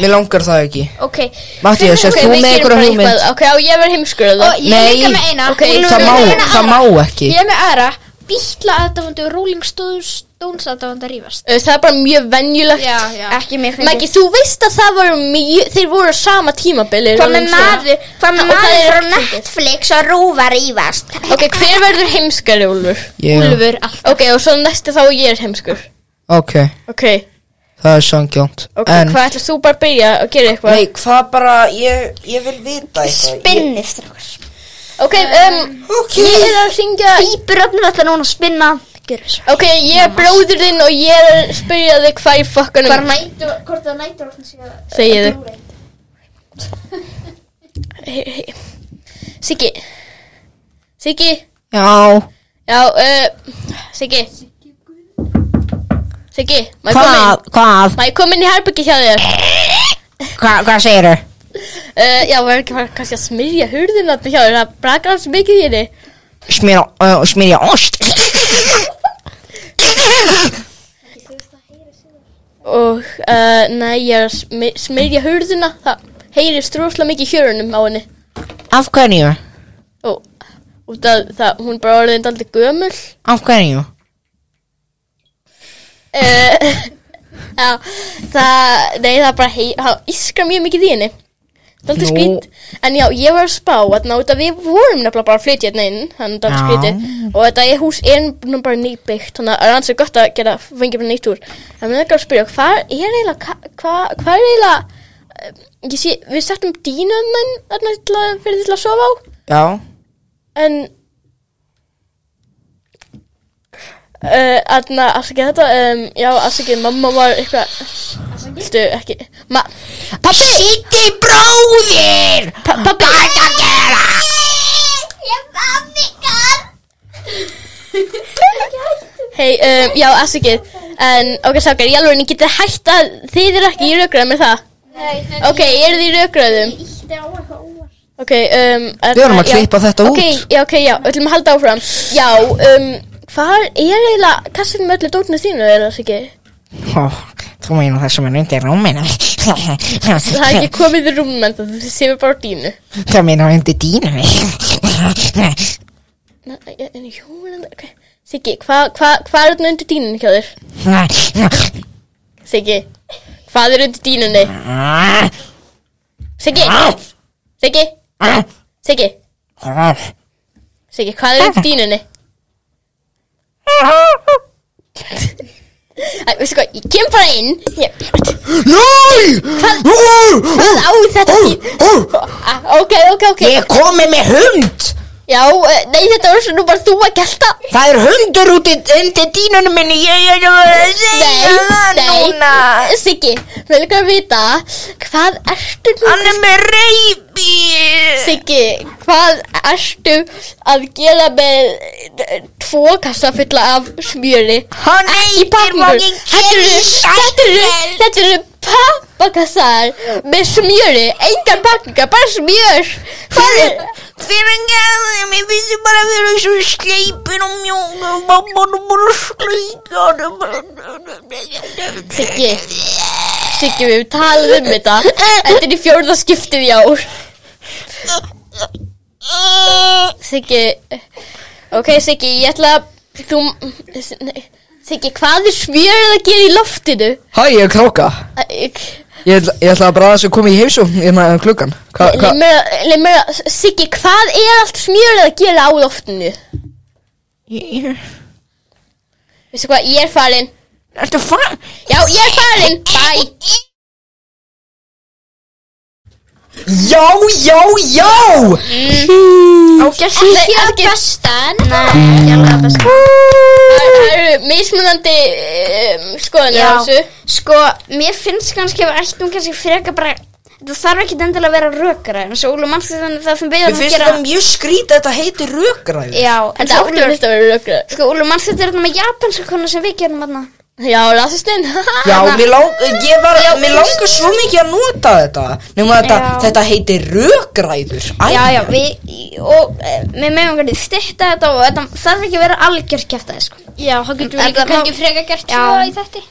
C: Mér langar það ekki
B: Ok,
C: Mattías, er
A: Ok,
C: þú
A: við gerum
C: með einhverja
A: bara
C: hugmynd?
A: eitthvað. Ok, á ég verð heimskurða
E: Og ég er líka
C: Nei.
E: með eina
A: Ok,
E: Úlfur
C: Það
E: er
C: má,
E: með eina
C: það
E: aðra.
C: má ekki
E: Ég er með aðra Bítla aðdafandu og Rolling Stones aðdafandu að rífast
A: Það er bara mjög venjulegt
E: Já, já
B: ekki mér
A: Maggi, þú veist að það voru mjög, þeir voru á sama tímabili
B: Hvað með
A: Rolling Stone.
B: maður, hvað með
A: Og það
B: maður
A: er
B: frá Netflix og rúvar ívast
A: Ok, hver verður heimskari, Úlfur?
C: Ég,
E: Úlfur alltaf
A: Ok, og svo næsti þá ég er heimskur
C: ok,
A: Ok,
C: það er sangjónt
A: ok,
C: En,
A: hvað ætlar þú bara að byrja að gera eitthvað?
C: nei, hvað bara, ég, ég vil vita eitthvað
B: Spinnið strákar
A: Ok, um,
C: Ok,
A: ég er að syngja
B: Fýpur öfnir alltaf núna að spinna Gjörðu svo
A: Ok, ég er bróður þinn og ég er að spyrja þig hvað í fokkanum
B: Bara nætur, hvort það nætur
A: Segið þig Hey, hey. Siggi Siggi
C: Já,
A: Já, uh, Siggi Siggi, má ég koma inn?
C: hvað, hvað,
A: Má ég koma inn í herbyggi hjá þér?
C: hvað, hvað segir þau?
A: Uh, já, var ekki bara kannski að smyrja hurðina þarna hjá þér Það brakar hans mikið í henni
C: Smýra, uh, smýra ost
A: Og, uh, nei, ég er að smi- smyrja hurðina Það heyrist rosalega mikið í hjörunum á henni
C: Af hverju?
A: Og, og það, það, hún er bara orðin daldið gömul
C: Af hverju?
A: Eh, Já, það, nei það er bara hei, það ískra mjög mikið í henni Það er alltaf
C: Nú.
A: skrít En já, ég var að spá að ná þetta við vorum nefnilega bara að flytja hérna inn Þannig að það er
C: Já.
A: skrítið Og þetta er hús er nú bara nýbyggt Þannig að það er ansið gott að gera fengið bara nýtt úr En mér er að spyrja, hvað er eiginlega Hvað hva, hva er eiginlega eh, Ég sé, við settum dínu Þannig til að fyrir til að sofa á
C: Já,
A: En uh, Aðna, afsakið þetta um, Já, afsakið, mamma var eitthvað Viltu ekki ma
C: Pappi Sýtti brói móðir
B: Pabbi
A: Hei, um, já, afsakið En, ok, sákar, ég alveg, en ég geti hætt að Þið eru ekki í raukröðum, er það?
E: Nei,
A: Ok, eru þið í raukröðum?
E: Ítti á eitthvað óvart.
A: Ok, um
C: Við vorum að klippa þetta út.
A: Ok, já, ok, já, við ætlum að halda áfram Já, um, hvað er eiginlega Kassin með öllu dótinu þínu, er það ekki?
C: Ó, Þú meina það sem er undir rúminu
A: Það er ekki komið í rúmum en það séu bara á dínu
C: Þú meina undir dínu
A: Nei, en jú, en, ok Siggi, hvað hva, hva er þetta undir dínunni hjá þér? Siggi, hvað er undir dínunni? Siggi, Siggi, Siggi, Siggi, hvað er undir dínunni? Æ, veistu hvað, ég kem bara inn ég,
C: Nei
A: Hvað á þetta því? Ok, ok, ok
C: Ég er komið með hund
A: Já, eh, nei, þetta var svona bara þú að gelta
C: Það er hundur út undir dínunum minni Ég er að segja
A: Nei,
C: það núna
A: nei, Siggi, mér líka að vita Hvað ertu nú
C: Hann er með reyfi
A: Siggi, hvað ertu að gera með eh, tvo kassa fulla af smjöri?
C: Hann
A: Ekki pappakassaður Þetta eru- þetta eru- þetta eru pappakassaðar með smjöri Engar pappakassaðar, bara smjör Hvað er
C: Fyrir en gæði Mér finnst ég bara að vera svo sleipin og mjóka Mamma nú bara sleika
A: Siggi Siggi, við höfum talað um þetta Þetta er í fjórða skiptið í ár Siggi Ok, Siggi, ég ætla að Þú Nei, Siggi, hvað er smjörið að gera í loftinu?
C: Hæ, ég er kráka Ég ætla, ég ætla að bræða þess að koma í heimsum Hérna um klukkan Hva, hva?
A: Leif mér að Siggi, hvað er allt smjörið að gera á loftinu? Veistu hvað, ég er farin
C: Ertu fann?
A: Já, ég er farin Bye
C: Já, já, já
B: Ágæsli
A: Nei,
B: hér
A: ekki-
B: bestan Nei, ekki alveg bestan
A: Það það eru mismunandi um, skoðanir á þessu
B: Sko, mér finnst kannski að við ættum kannski freka bara Það þarf ekki endilega að vera rökara En svo Ólu mannstu þannig það sem við
C: Mér
B: erum að
C: finnst
B: gera
C: þetta mjög skrítið að þetta heitir rökræður
B: Já, en
A: Þetta
B: það
A: áttu
B: Ólu
A: þetta að vera rökra
B: Sko, Ólu mannstu þetta er þetta með japanska konar sem við gerum aðna
A: Já, rasistinn
C: Já, mér, lang, ég var, mér langar svo mikið að nota þetta Nefnum að þetta,
B: Já.
C: þetta heitir rökræður Æ,
B: Já, já, við Og eh, við meðum kannski styrta þetta Og þetta þarf ekki að vera algjör kæft aðeins sko.
E: Já, þá getum við
B: En
E: líka
B: það má-
E: kannski freka gert
B: Já.
E: svo í þetta.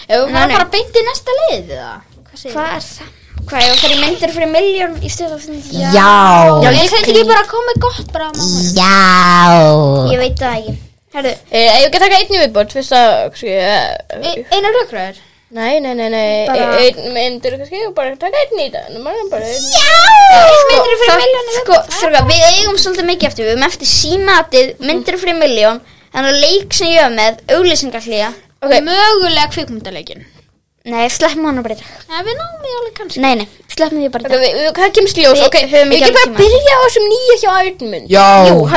E: Ef við
B: Nei, nei.
E: varum bara beint í næsta lið, eða? Hvað segir
B: Hvað er það? Hvað, ég fyrir myndir fyrir miljón í styrta
C: já, já,
E: Ég kannski ekki bara komið gott bara á mamma.
B: Ég veit það ekki Herðu,
A: Eh, Ég get taka einn í viðbót Fyrst að, kannski eh,
E: E- Einar rökræður.
A: Nei, nei, nei, nei
B: Bara-
A: e- Einn myndur kannski og bara taka einn í það Nú maður bara einn
B: myndir fyrir miljónu sko, þrjóka, við eigum svolítið mikið eftir við erum eftir símatið, myndir fyrir miljón þannig að leik sem ég hef með, auglýsingarhlýja
E: Okay. Mögulega kvikmyndalegin.
B: nei, sleppum hann að breyta
E: Nei, við náum í alveg kannski.
B: nei, nei, sleppum því bara
A: Ok, við- við- hvað kemst ljós?
B: Við
A: Ok,
B: höfum
A: við
B: ekki
A: ekki bara
B: alveg tíma.
A: byrja á þessum nýja hjá Arnmund
C: já.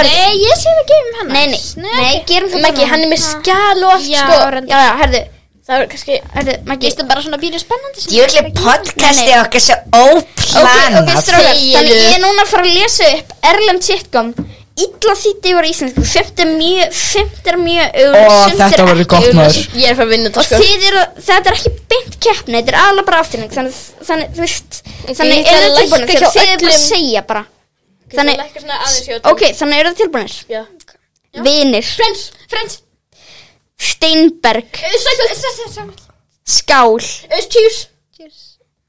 E: Nei, ég sé við gefum hennar.
B: nei, nei, nei, gerum það
A: Maggi, hann er með skjál og allt
E: Já,
A: sko
E: reyndar.
A: Já, já, herðu Það er kannski
B: Erðu, Maggi,
E: Gist það bara svona býrið spennandi sem
C: Jöfnli podcasti okkar svo óplanað
B: ok, strákar,
A: Þegiðu.
B: þannig ég er núna að fara að lesa upp Erlend sitcom illa þýtti yfir á íslensku fimt er mjög, fimt er mjög
C: Ó,
B: auglýst, sumt er
C: þetta
B: ekki
C: verður gott
B: auglýst.
C: maður
A: Ég er að fara að vinna þetta
B: og
A: sko
B: þið eru, þetta er ekki beint keppni, þetta er aðla bara afturning þannig, þannig, þú veist þannig
A: Ég ætla að
B: eru þið tilbúinir,
A: lækka hjá
B: þegar þið eru bara að
A: öllum.
B: segja bara
A: Þannig
B: þannig, ok, þannig eru þið tilbúinir
A: Já.
B: vinir,
E: Friends, friends,
B: steinberg, skál
A: Cheers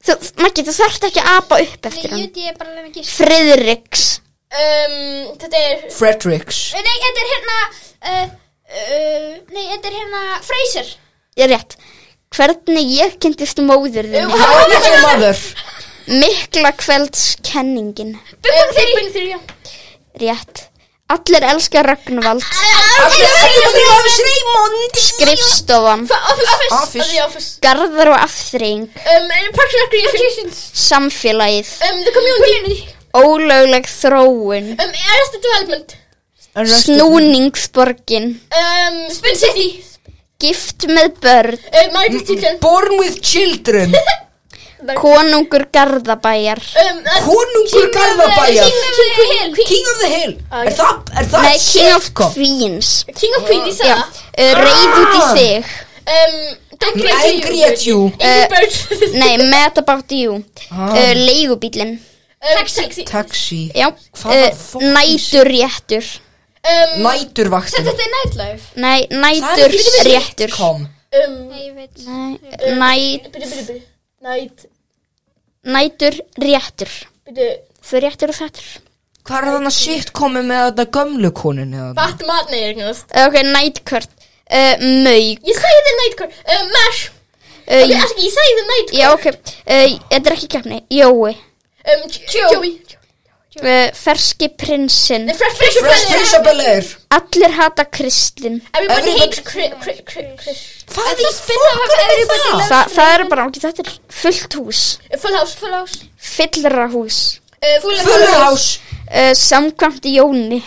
B: þú, Maggi, þú þarft ekki að apa upp eftir hann
E: Ég, ég er bara alveg ekki
B: friðriks
A: Um, Þetta er
C: Fredericks
E: Nei, þetta er hérna uh, uh, Nei, þetta er hérna Fraser
B: ég er rétt hvernig ég kynntist móður þinn
C: How I met your mother
B: mikla kveldskenningin
E: Bumbum þeirri Bumbum þeirri, já
B: rétt allir elska Ragnvald skrifstofan
A: Office
C: Office.
A: The Office
B: garðar og afþreying
A: um, Parks and Recreations
B: samfélagið
A: um, The Community
B: ólögleg þróun
A: um, Arrested Development
B: snúningsborgin
A: um, Spin City Ehm,
B: gift með börn
A: um, Margaret Stilton
C: Born with children
A: Garðabæ
B: Konungur Garðabæjar
A: um, en-
C: Konungur
A: King of the-
C: Garðabæjar
A: King of the Hill King-
C: King of the Hill
A: Ah,
C: Er
A: já.
C: það, er það
B: Nei, King of
C: sitcom?
B: Queens
A: King of Queen, ég sagði
B: Já,
A: það
B: uh, reyð út í þig
A: Um, don't
C: Nei,
A: get you.
C: grét jú.
A: Angry Birds.
B: Nei, Mad About You uh, Leigubílinn
A: Um, Taxi.
C: Ah, Taxi
B: Já,
C: Hvaða
B: uh,
C: fucking
B: næturréttur
A: Um,
C: Næturvaktin
A: Þetta er nightlife.
B: Nei, næturréttur
C: Kom
A: Um,
B: Næ,
A: byrju, byrju, byrju. Night,
B: næturréttur
A: byrju.
B: Þau réttur og þettur
C: Hvað er þannig sitcomi með þetta gömlu konin eða?
A: Batman, nei, eignast.
B: Uh, Ok, nætkvört uh, Mög
A: Ég sagði þið nightcore. Um, mash.
B: uh,
A: Ok, ekki, ég sagði þið nightcore.
B: Já, ok, uh, þetta er ekki keppni Jói
A: Um, Joey. Joey.
B: uh, Ferski prinsinn
A: The Fresh Fresh
C: Fresh Prince of Bel-Air
B: Allir hata kristlinn
A: Everybody
C: Everybody-
A: hates Chris. Chris, Chris, Chris.
C: Hvað í fokkan er það?
B: Þa, Það eru bara ákveð, þetta er fullt hús
A: Full House, Full House.
B: Fyllra hús
A: Uh, full,
C: Fullhouse
B: uh, Samkvæmt Jóni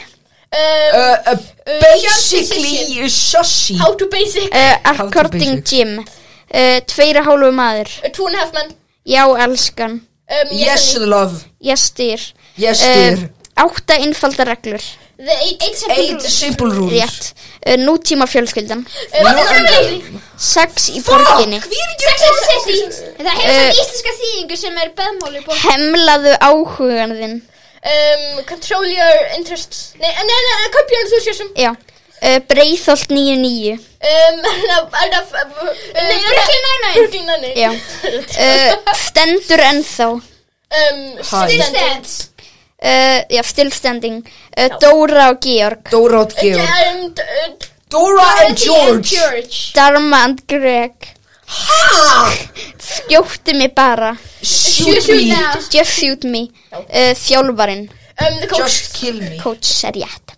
B: Eh,
A: Um,
C: uh, uh, Basically uh, Sushi
A: how to
C: Eh.
A: basic.
B: uh, According
C: basic.
B: Jim uh, Tveira hálfu maður
A: Uh, two and a half men.
B: Já, elskan
A: Um,
C: Yes
A: honey.
C: love
B: Ég styr
C: Yes
A: Eh,
C: dear
B: Átta innfaldar reglur
A: The eight, Eh, eight simple
C: Eight simple rules
B: Rétt uh, Nútíma fjölskyldan
A: Um, what is family?
B: Sex í
C: Fuck
B: borginni
C: Hví er
A: Sex and the City.
E: Það hefur
B: Eh.
E: svona íslenska þýðingu sem er beðmáli bók
B: Hemlaðu áhugan þinn
A: Um, control your interests. Nei, nei, nei, nei, eh, copy your enthusiasm.
B: Já uh, Breiðholt
A: Um,
B: 99
A: er það...
C: Eh,
A: Nei, Brooklyn Nine-Nine. Brooklyn Nine-Nine.
B: Já. uh, Stendur ennþá
A: Um,
C: Hi.
A: Stilstedt.
B: uh, Já, stillstanding uh, Dóra og Georg
C: Dóra og Georg
A: Um, d- uh,
C: Dora and
A: Dorothy and
C: George
A: George.
B: Dharma and Greg
C: Ha!
B: Skjóttu mig bara
C: Shoot me
B: Just shoot me uh, Þjálfarinn
A: Um, the coach.
C: Just kill me
B: Coach er rétt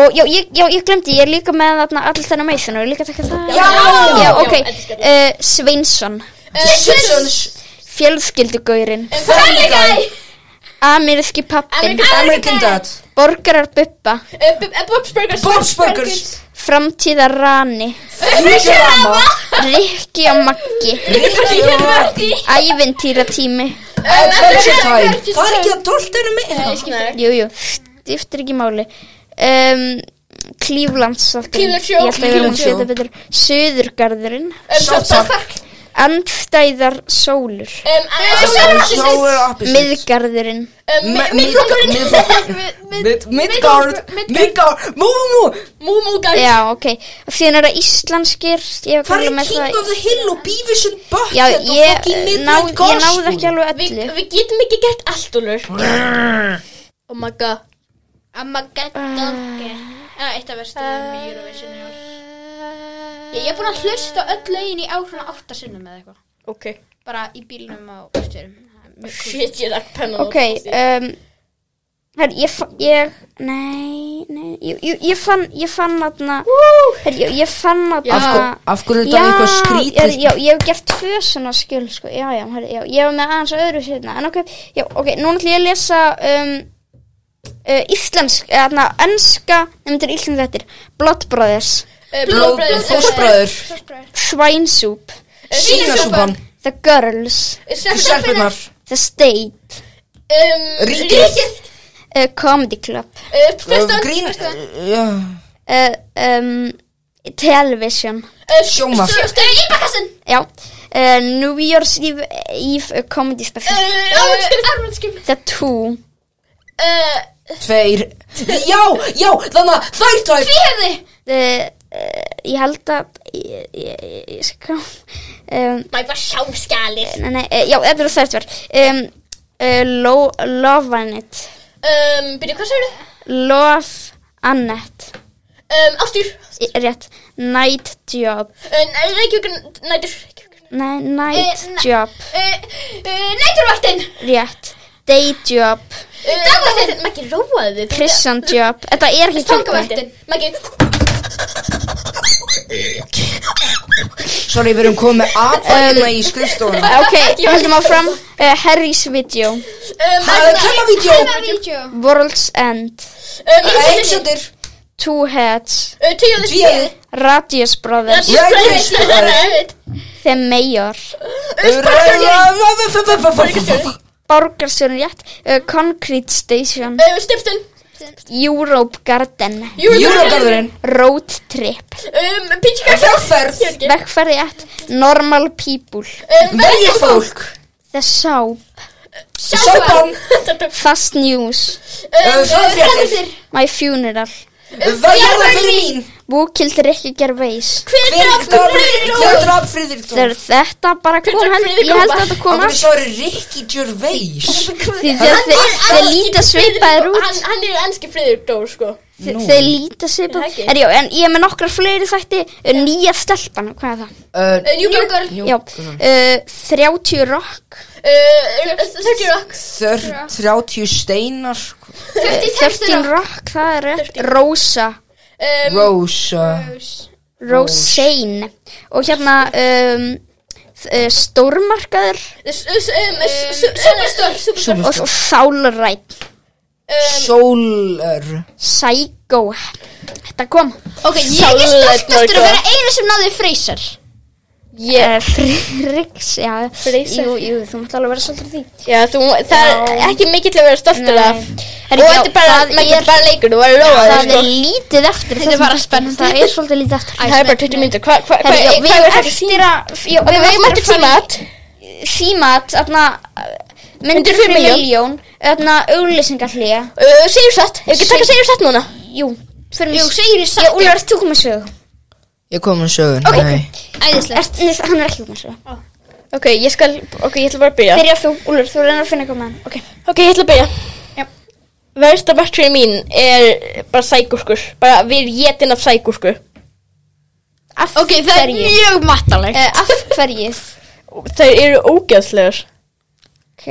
B: Og já, ég, já, ég glemdi, ég er líka með þarna all þennan meisun og ég er líka að taka það
C: Já!
B: Já,
A: Já,
B: ok,
A: þetta skal
B: uh, Sveinsson
C: Simpsons
B: Fjölskyldugaurin
A: Eh, Family Guy.
B: Ameríski pappin
C: American Dad
B: Borgarar bubba
A: Uh, B- uh, Bob's Burgers.
C: Bob's Burgers
B: Framtíðar rani
C: Futurama
B: Rikki og Maggi
C: Ricky og Marty
B: Ævintýratími
C: Adventure Time Það er ekki að tólta henni með
A: Nei, skiptir ekki.
B: Jújú, stiftir ekki máli um, Klíflands
A: Cleveland
B: Ég
A: Show.
B: held að við erum
C: Cleveland
B: að
C: Show.
B: setja betur Suðurgarðurinn
A: Um,
C: South
A: South Park.
B: Andstæðar sólur
A: Um, uh, Solar Opposites.
C: Solar Opposites
B: Miðgarðurinn
A: Um,
C: Mi-
A: mi- Miðflokkurinn.
C: Miðflokkurinn. Mid- Midgard Midgard Mú, mú, mú
A: Múmú Guys.
B: Já, ok Síðan er það íslenskir Ég var
C: Hvað
B: komin
C: er
B: með
C: King
B: það
C: of the Hill og Beavis and Butt
B: Já, ég, ná, ég náði ekki alveg
A: Við
B: öllu
A: við getum ekki gert allt, Úlur. Oh my god.
E: Amagadonge Það er eitt af versta lögum í Eurovision í ár Ég ég er búin að hlusta á öll lögin í ár svona áttasinnum eða eitthvað
A: Ok.
E: Bara í bílnum á östurum
A: Shit, ég lagt pennan. á
B: Ok, um Her, ég, fa- ég, nei, nei, jú, jú, ég fann, ég fann aðna, her, ég, ég fann aðna,
C: Af hver- af hverju er þetta eitthvað skrítið?
B: Já, ég hef gert tvö svona skjöl, sko, já, já, her, já, ég hef með aðeins öðru sérna, en ok, já, ok, núna ætlum ég að lesa, um, uh, íslensk, eða aðna, ennska, nefndir íslensk þettir, Blood Brothers,
A: Uh, Blue
C: Blóð
A: Brothers.
C: Þorsbræður
B: Swinsoup,
C: Svínasúpan
B: The Girls,
C: Stelpunar
B: The State,
A: Um,
C: Ríkið
B: uh, Comedy Club,
A: uh, Fyrsta.
C: Uh, Grín Já.
B: uh, um, Television,
A: Uh,
C: Sjónvarp.
A: Íbakassin.
B: Já, uh, New Year's Eve, Eve uh, Comedy Special
A: Ármannskip.
B: The Two
A: Uh,
C: Tveir Já, já, þannig að þær tvær
B: uh, uh, Ég held að Ég, ég, ég, ég skal um,
A: Maður bara sjá skalir.
B: Nei, nei, uh, já, þetta er þær tvær um, uh, lo, Love Annette
A: Um, byrju, hvað sagður þau?
B: Love Annette
A: Um, ástýr.
B: Í- Rétt, Night Job
E: Eh,
A: Uh, Reykjavíkur, nætur.
B: Nei, Night
A: Eh, na-
B: Job
A: Uh,
E: eh,
A: uh, næturvaktin.
B: Rétt, Day Job
A: Uh, Dagvaktin. Maggi, róaðu þig.
B: Prison Job Þetta er ekki kjöldvætt
A: Fangavaktin.
E: eh,
A: Maggi,
C: Sorry, við erum komið með apa hérna í skrifstofunum
B: Ok, heldum áfram uh, Harry's Video
A: um,
C: Það er kemmavídjó
E: Vídeó
B: World's End
A: um,
C: Einsendir
B: Two Heads,
E: Tíu þessi tíu
B: Radius Brothers,
C: Ég er ekki
B: The Mayor,
C: spæð
B: Borgarstjórn rétt, uh, Concrete Station,
E: Stifstun
B: Europe Garden,
C: Júragarðurinn
B: Road Trip,
E: Um, Pítsika
C: Hjáferð
B: Vegferði rétt, Normal People,
E: Um,
C: Velja fólk
B: The Soap,
C: Sápan
E: Um,
B: Fast News,
A: Eh,
C: Fræðfjættir
B: My Funeral,
C: Velja fyrir mín
B: Búkild Rikki Gervais.
C: Hver draf Friðrik
B: Þegar
C: Dór
B: þetta bara kom
E: Hver drap
B: henni,
E: Friðrik
B: ég held
E: Dór?
B: að þetta kom
C: Akkur
B: af
C: svo eru Rikki Gervais
B: því þegar þeir- þeir líta svipaðir út.
E: Hann hann er enski friður dór sko
B: Þe- Þeir líta sig bara
E: Er það ekki?
B: Er já, en ég er með nokkra fleiri þætti uh, Nýja stelpan, hvað er það?
C: Uh,
E: Eh, Njúbjörgur
C: Jú,
B: Já, uh, 30 rock
E: Eh, Þörgjur okk
C: þör- 30 steinar
E: um,
B: 13 Eh, rock, það er rétt Rósa,
C: Rósa
B: Rósein Og hérna um, uh, Stórmarkaður
E: um,
A: Um, uh,
E: Superstar Superstar um,
B: Og svo Fálarætt
C: Sólar
B: Psycho Þetta kom sko.
E: Ok, ég er stoltastur að vera einu sem náði freysar
B: yeah. uh, Friðriks já,
A: Friðriks.
B: Jú, jú, þú mátt alveg vera svolítið því
A: Já, þú, það er ekki mikið til að vera stoltur af
B: Herri,
A: Og
B: já,
A: þetta er bara,
B: það
A: þetta
B: er-
A: er bara leikur, þú verður róað
B: Það er lítið eftir sko. Þetta er bara spennandi Það er svolítið lítið eftir
A: Það er bara 20 mínútur, hvað, hvað, hvað,
B: Herri, já, við
A: hvað er
B: erum
A: þetta sín?
B: eftir að já,
A: Ok, við
B: eigum
A: erum eftir
B: að fara
A: tímat
B: í Tímat, þarna uh, Myndir
A: Myndir
B: fyrir
A: fyrir
B: miljón Þarna auglýsingarhlýja
A: uh, Segjum satt, ef ekki taka segjum satt núna
B: Jú, fyrir mig Jú, segir ég satt Já, Úlfur, ert þú komið sög
C: Ég kom með sögun
B: Ok.
C: Nei.
B: Ert, nei, hann er ekki komið sög
A: Ok, ég skal, ok, ég ætla bara að byrja
B: Byrja þú, Úlfur, þú reynir að finna eitthvað með hann Ok,
A: Ok, ég ætla að byrja
B: Já.
A: Versta martröðin mín er bara sækurskur Bara við jetin af sækursku
B: af okay, hverju
E: mjög mattalegt
B: Eh, Af hverju
A: Þeir eru ógeðslegar
B: Ok,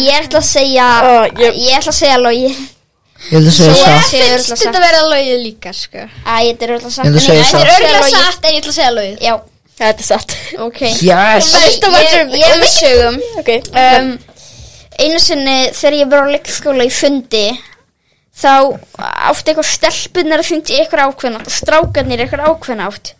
B: ég ætla að segja
A: Ah, ég-
B: Ég ætla að segja logi
C: Ég held að segja
B: Ég
C: það
B: segja
E: Finnst
B: örgulega
E: þetta
B: satt
E: að vera lögið líka sko
B: Æ, þetta er örgulega satt
C: Ég held að segja
B: Nei, þetta er
C: satt.
E: Það er
B: örugglega
E: örgulega
B: satt.
E: satt en ég ætla að segja lögið
B: Já,
A: Þetta er satt
B: ok
C: Yes
A: Versta
B: Ég,
A: martröðin
B: ég er með sögum
A: Ok,
B: um, einu sinni þegar ég var á leikskóla í fundi þá átti eitthvað stelpunar að fundi eitthvað ákveðna átt og strákarnir eitthvað ákveðna átt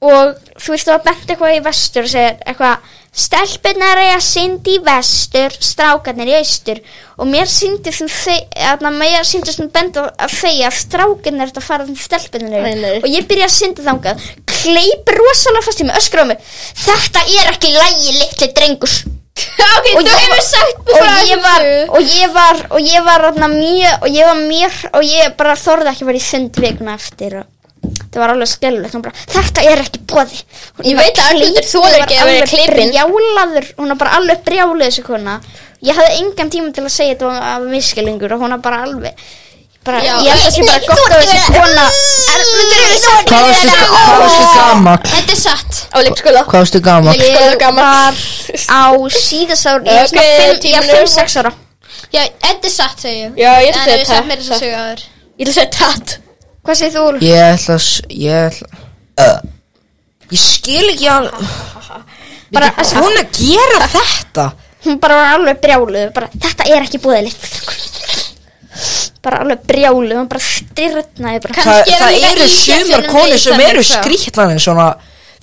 B: og þú veist það var bent eitthvað í vestur og segir eitthvað stelpunar er að syndi í vestur strákarnir í austur og mér syndi sem þe- þarna, mér syndi sem bent að þegja að strákarnir er að fara þannig stelpunar
A: Nei, nei.
B: og ég byrja að synda þangað kleip rosalega fast í mig öskra á mig þetta er ekki lægi litli drengur
E: Ok,
B: Og
E: þú
B: ég-
E: hefur sagt
B: og
E: frá
B: ég
E: þessu.
B: var og ég var og ég var þarna mjög og ég var mjög og ég bara þorði ekki að vera í sund vikuna eftir og það var alveg skelvilegt hún bara þetta er ekki bóði
A: Ég veit að Arnhildur þolir ekki að vera klipin.
B: brjálaður hún var bara alveg brjálaður þessu kona ég hafði engan tíma til að segja þetta var- var miskilingur og hún var bara alveg bara
E: Já.
B: ég held að sé bara gott að þessi kona erfnundur eru svo
C: Hvað varstu hvað varstu gamall?
E: Þetta er satt
A: á leikskóla
C: Hvað varstu gamall?
A: Leikskóla gammal
B: á síðasár ég
A: Ok,
B: var
A: tímanum.
B: 5-6 ára
E: Já, þetta er satt segja ég
A: Já, ég ætla að
E: En
A: segja
E: við satt
A: tatt
E: meira þess að segja aður
A: Ég ætla að segja tatt
B: hvað segir þú Úlfur?
C: Ég ætla að s- Ég ætla Ö. Ég skil ekki al Bara Hún að gera þetta
B: hún bara var alveg brjáluð bara, þetta er ekki búðilegt bara alveg brjáluð hún bara styrnaði bara.
C: Þa,
E: Kannski er
C: Það
E: hún líka
C: eru
E: í
C: sumar
E: fjöllunum
C: konur
E: við
C: sem
E: þannig,
C: eru
E: sko.
C: skrítlanir svona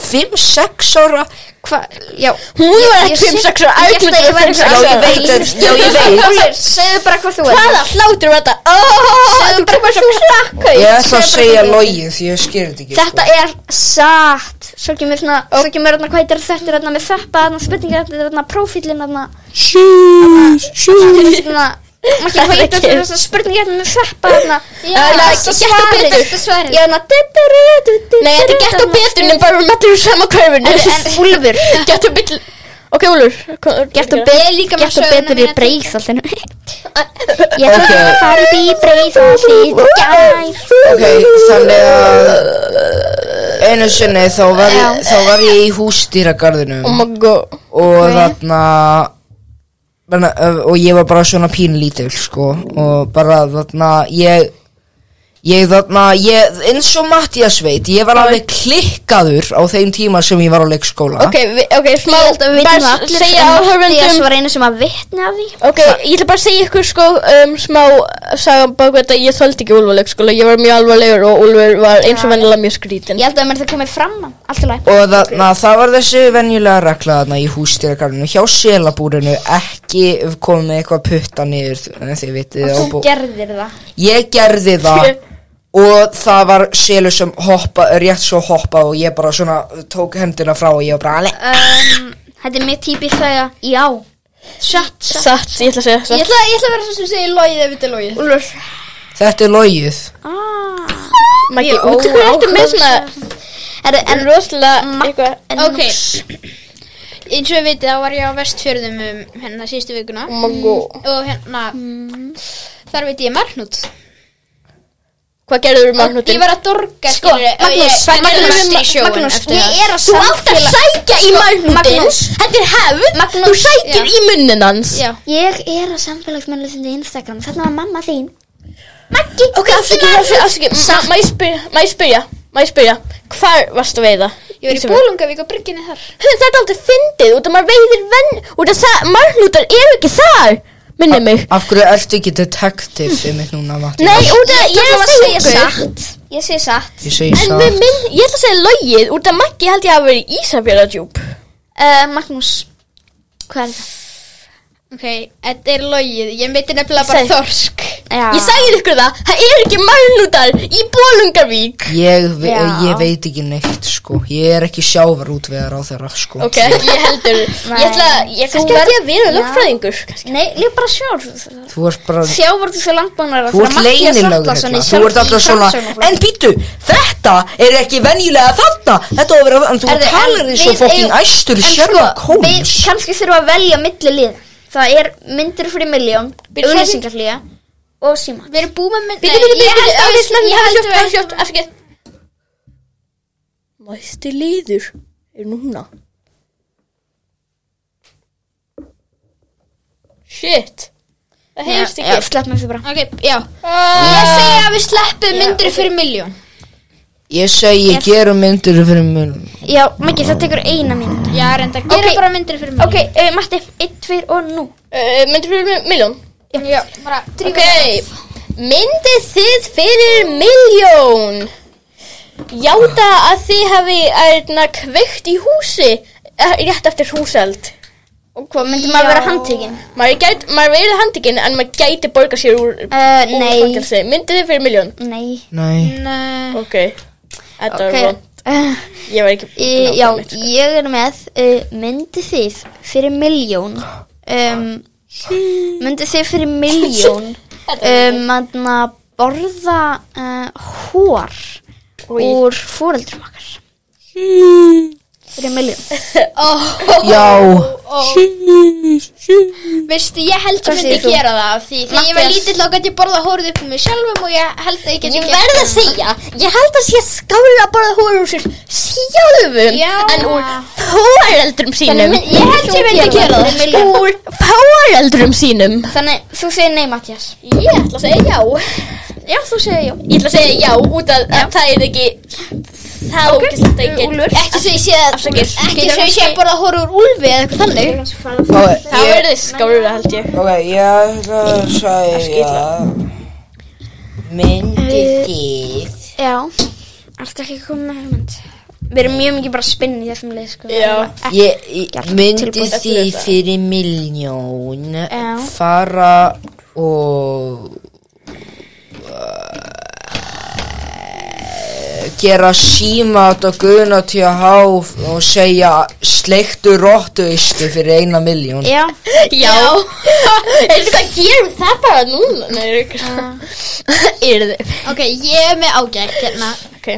C: 5-6 ára
B: Hva, já,
A: Hún var
B: Ég- ég
A: ekki 5-6 ára
B: ég hélt að ég væri
C: Já ég veit en- Já ég veit
B: Úlfur, segðu bara hvað þú er
A: Hvaða hlátur var þetta? Segðu
B: segðu bara hvað þú er
C: Ég ætla að segja logið því ég skil þetta ekki sko.
B: þetta er satt svo kemur svona, svo kemur hérna hvað heitir þetta hérna með þeppa, hérna spurningar þetta er hérna prófílin hérna
C: Sjús Sjús
B: hérna, maður ekki hvað heitir þetta spurningar hérna með þeppa hérna
E: Já,
A: Þetta er gett og betur
E: Þetta svarið
B: já, hérna nei,
A: Nei, þetta er gett og betur En bara við mættum við sama körfinu
B: en, en Úlfur
A: Gett og betur Ok, Úlur
B: Gert og
E: Ég er
B: betur,
E: líka með
B: gert og
E: söguna hérna,
B: betur í
E: mína
B: breyðsaltinu Ég ætla
C: Ok.
B: að fara upp í breyðsaltinu
C: Ok, þannig að einu sinni þá var, ég, þá var ég í hústýragarðinum
A: Oh my god
C: og þarna eh, menna, ö, og ég var bara svona pínlítil sko og bara þarna ég Ég þarna, ég, eins og Mattias veit, ég var alveg klikkaður á þeim tíma sem ég var á leikskóla.
A: Ok, vi, ok, smá
B: Ég held að við vitum
A: bara
B: það allir
A: segja
B: en Matthías
A: áhörfundum
B: var einu sem að vitni af því
A: Ok, ég ætla bara að segja ykkur sko um, smá sagam bak við þetta, ég þoldi ekki Úlfur leikskóla, ég var mjög alvarlegur og Úlfur var eins og vennilega mjög skrítin
B: Ég held að mér það komið fram Allt í lagi
C: Og þarna, það var þessi venjulega regla þarna í hústýragarinu hjá selabúrinu, ekki komið með eitthvað putta niður, þið vitið. á bó-
B: Þú gerðir það
C: Ég gerði það og það var selur sem hoppa, rétt svo hoppa og ég bara svona tók hendina frá og ég var bara alveg.
B: um, Þetta er mér típi þegar Já Satt, satt
A: Satt, ég ætla að segja
E: Ég
A: satt
E: ætla, ég ætla að vera svo sem segir logið ef þetta er logið Úlfur
C: Þetta er logið.
B: Ah,
A: Maggi,
B: Ég
A: út hvað ertu með svona
B: Herru, en
A: rosalega eitthvað
B: en-
E: Ok Eins og við vitið þá var ég á vestfjörðum um hérna síðustu vikuna
A: Mango
E: Og hérna Þar veit ég Magnús
A: Hvað gerður við
E: Ég
A: mannútin?
E: var að dorga
B: Sko, Magnús, Magnús, Magnús, ég er að
A: Þú átt að
B: samfélag
A: sækja í mannútin
B: Magnús.
A: Þetta er hefð Þú
B: Magnús,
A: sækir í munnin hans
E: Já.
B: Ég er að samfélagsmynda þinn í Instagram Þarna var mamma þín
A: Maggi, Ok, afsaki, afsaki, afsaki Má- Má ég spyrja, má ég spyrja, má ég spyrja Hvar varstu að veiða?
E: Ég var í Bólungavík á brygginni þar
A: Þetta er aldrei fyndið út að maður veiðir venn Út að það, mannútar eru ekki þar Minni mig
C: Af hverju ertu ekki detektiv um mitt núna, Matti?
A: Nei, út að ég er
B: ætla
A: að
B: að
A: segja
B: segja
A: ykkur
B: Ég segi satt
C: Ég segi
A: En
C: það.
A: við minn, ég ætla að segja logið Út að Maggi held ég hafa verið í Ísafjörðardjúp
B: uh, Magnús Hvað er það?
E: Ok, þetta er logið Ég meiti nefnilega bara
A: Seg-
E: þorsk
B: Já.
A: Ég sagði ykkur það, það er ekki mannútar í Bólungarvík
C: Ég, ve
B: Já.
C: ég veit ekki neitt sko Ég er ekki sjávar útveðar á þeirra sko
A: Ok, ekki ég heldur Ég ætla, ég kannski verð ég að vera lögfræðingur
B: Nei, ég bara sjálf
C: Þú ert bara
B: Sjávartu svo landbúinara
C: Þú ert leynilögur Þú ert alltaf svona En býtu, þetta er ekki venjulega þarna Þetta á að vera En þú talar eins og fokkin æstur Sherlock Holmes
B: sko, Við kannski þurfum að velja milli lið Það er myndir fyrir miljón
E: Byrju,
B: Unnýsingarlíða Og síma
E: Við erum búið með
A: Bíddu, bíddu, bíddu, bíddu,
E: að
A: ok,
E: við
A: snemma,
E: Ég held
A: sjótt,
E: að við Afsakið
A: Næsti liður er núna Shit Það heyrst
B: Já,
A: ekki
B: slepp mér því bara
E: Ok, já Ég segi að við sleppum myndir fyrir miljón
C: Ég segi, ég gerum myndir fyrir mun
B: Já, Maggi, það tekur eina mynd
E: Já, reynda, gerum
B: Ok.
E: bara myndir fyrir
B: Ok,
E: miljón
B: uh, Matti, 1, 2 og nú
A: Uh, Myndir fyrir miljón
E: Já, bara
A: Ok Myndið þið fyrir miljón Játa að þið hafi erna kveikt í húsi eh, Rétt eftir húseld
B: Og hvað, myndi maður vera handtekinn?
A: Maður, gæt, maður verið handikinn en maður gæti borga sér úr
B: Uh,
A: úr
B: nei,
A: fangelsi. Myndið þið fyrir miljón
B: nei
C: Nei,
E: Nei
A: Ok Þetta
B: Ok,
A: var vond
B: uh,
A: Ég var ekki
B: í,
A: nákvæmlega
B: já,
A: mitt, sko.
B: ég er með uh, myndi þið fyrir miljón um, myndi þið fyrir miljón um, að borða uh, hór úr fóreldrum okkar fyrir miljón
C: já
E: Veistu, ég held
B: Hvað
E: að myndi
B: segir þú?
E: gera það af Því þegar ég var
B: Matthías.
E: lítill þá gæti ég borða hórið upp um mig sjálfum Og ég held að ég geti
A: Ég verð að segja, ég held að sé skála að borða hóra úr sér sjálfum
E: Já.
A: en úr fóreldrum sínum.
B: mynd- ég held ég myndi gera það.
A: Úr fóreldrum sínum.
B: þannig þú segir nei Mattias
A: Ég ætla að segja já.
B: já, þú segir já
A: Ég ætla að segja já út af að það er ekki það okay. ógæslegt að ég get.
E: Ekki svo ég sé að
A: Afsakir.
E: Ekki svo ég sé að borða hórið úr úlfi eða eitthvað þannig
C: Ok,
A: Það verður þið skála held ég.
C: ok, ég ætla að segja Myndir þið
B: já, allt ekki komið með hugmynd við erum mjög mikið bara að spinna í þessum leið sko.
A: Já.
C: Ég, ég myndi
B: tilbúin
C: því fyrir miljón
B: Já.
C: fara og eh, uh, gera símat og guna til að háf og segja sleiktu rottuistu fyrir eina miljón
B: já,
A: Já. Eða hvað gerum það bara núna? Nei, er ekki Er þið?
E: Ok, ég er með ágætt hérna
A: Ok.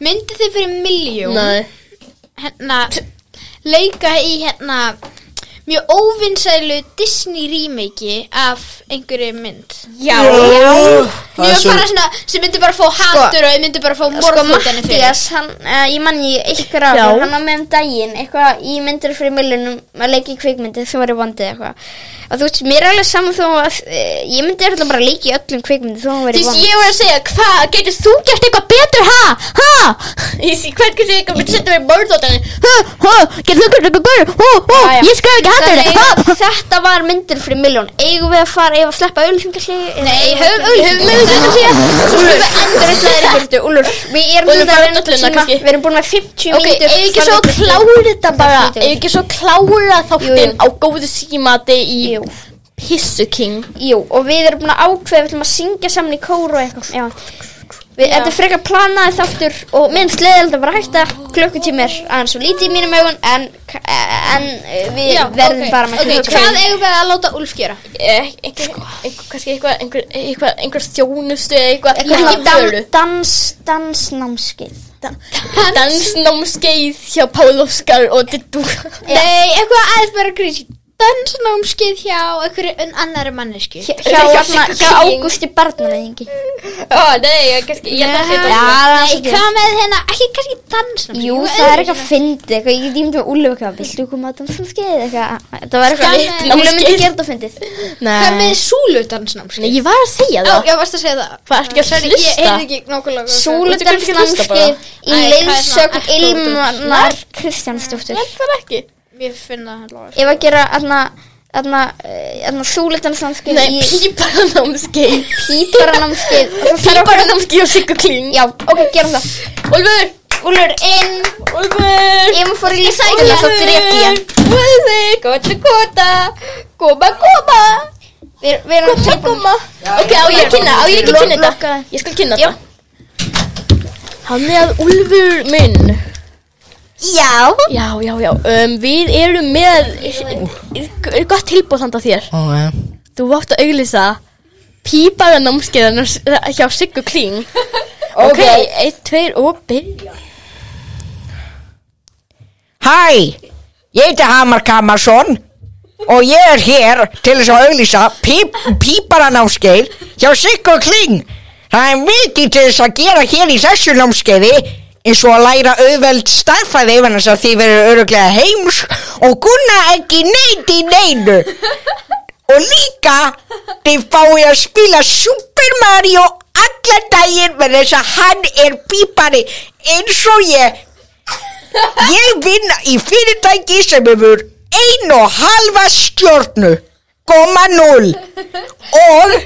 E: Myndi þið fyrir miljón
A: Nei.
E: Hérna Leika í hérna mjög óvinnsælu Disney remake af einhverju mynd
B: Já,
C: Það er
E: mjög
C: svo-
E: bara svona, sem myndi bara fá hatur og myndi bara fá
B: Sko
E: morðhóttanir fyrir
B: Mattias, hann, uh, ég mann í ykkur af,
A: Já.
B: hann var með um daginn eitthvað í myndir fyrir millunum að leika í kvikmyndi sem var í vondið eitthvað og þú veist, mér er alveg saman þó að uh, ég myndi alltaf bara leika í öllum kvikmyndi þó að hann
E: Þú
B: var í
E: veist,
B: vondið
E: ég var að segja, hvað, getur þú gert eitthvað betur, ha, ha? Ég sé, hvernig sé eitthvað myndi setja mig í morðóttanir? Ha, ha, getur þú gert eitthvað betur, hú, hú,
B: Já, já.
E: ég skal ekki hata
B: Þannig
E: þetta,
B: að
E: ha?
B: þetta var myndir fyrir miljón eigum við að fara, eigum við að sleppa auðlýsingarslegu
E: Nei, höfum auðvitað, höfum auðvitað, Úlur,
B: Við erum
A: Úlfur
B: svona að
A: fær
B: reyna
A: dolluna
B: að tíma
A: kannski.
B: Við erum búin með 50
A: Ok,
B: mínútur
A: ef ekki svo
B: Farðu-
A: klára þetta bara
B: Flýtur.
A: Ef ekki svo klára þáttinn
B: Jú, jú.
A: á góðu símati í
B: Jú.
A: Pissu King
B: Jú, og við erum búin að ákveða, við ætlum að syngja saman í kóru og eitthvað Já Við, þetta er frekar planaði þáttur og minn sleðild að vera hægt að klukkutími er aðeins svo lítið í mínum augun en, en eh, við verðum bara með
E: ok, hvað eigum við að láta Úlf gera?
A: Eh, einhver, einhver, kannski einhver, einhver, einhver, einhver þjónustu eða eitthvað
B: Ekki
A: vöru.
B: dan, dans, dansnámskið
A: dansnámskeið hjá Pál Óskar og Dittu
E: Nei, eitthvað aðeins bara grísi, dansnámskið hjá einhverju en annari mannesku.
B: Hjá, hérna, hjá Ágústi barnaveðingi
A: Ó, nei, ég kannski ég ætla að
E: Já,
A: setja
E: Nei,
B: það er
E: hvað með hérna, ekki kannski dansnámskið.
B: Jú,
E: eitthvað
B: það er
E: öðruvísi.
B: eitthvað fyndið, eitthvað, ég dýmdi með Úllu eitthvað, viltu koma að dansnámskeið eitthvað, það var
E: Hvað
B: eitthvað,
E: með-
B: Úllu myndi gera þetta fyndið.
E: Hvað
A: Nei,
E: með súludansnámskið?
A: ég var að segja
E: Já,
A: það
E: ég varst að segja það.
A: Hvað ertu ekki að
E: Sorry,
A: hlusta?
E: Ég heyrði ekki nokkulega.
A: hlusta bara?
B: Súludansnámskeið
E: Æ,
B: í
E: það er
B: leiðsögn
E: svona ekki
B: Ilmanar Kristjánsdóttur.
A: Ég var ekki
E: Ég finna það lofa.
B: Ég var að gera, aðna, aðna, aðna, súludansnámskeið
A: Nei,
B: í
A: píparanámskeið
B: píparanámskeið. og það þarf-
A: Píparanámskeið og Sigga Kling
B: Já, ok, gerum það.
A: Úlfur,
B: Úlur, inn,
A: Úlfur
B: ég maður fór í lífsækina, þá drep ég.
A: Úlfur, kota, kota Koma, koma
B: Við við erum
A: Koma,
B: tilbúin.
A: koma Ok, á ég að kynna, á ég ekki að kynna þetta
B: Lokaði.
A: Ég skal kynna þetta Hann er að Úlfur minn
B: Já.
A: Já, já, já um, Við erum með er gott tilbúð handa þér
C: Ok.
A: Þú átt að auglýsa píparanámskeiðan hjá Siggu Kling Ok, einn, tveir og byrja
C: Hæ, ég heiti Hamar Kamarsson og ég er hér til þess að auðlýsa píp, píparanámskeið hjá Siggo Kling. Það er mikið til þess að gera hér í þessu námskeiði eins og að læra auðveld starfæði yfir þess að því verður öruglega heims og gunna ekki neitt í neinu. Og líka, þið fáið að spila Super Mario alla daginn með þess að hann er pípari eins og ég Ég vinn í fyrirtæki sem hefur ein og halva stjórnu, koma null og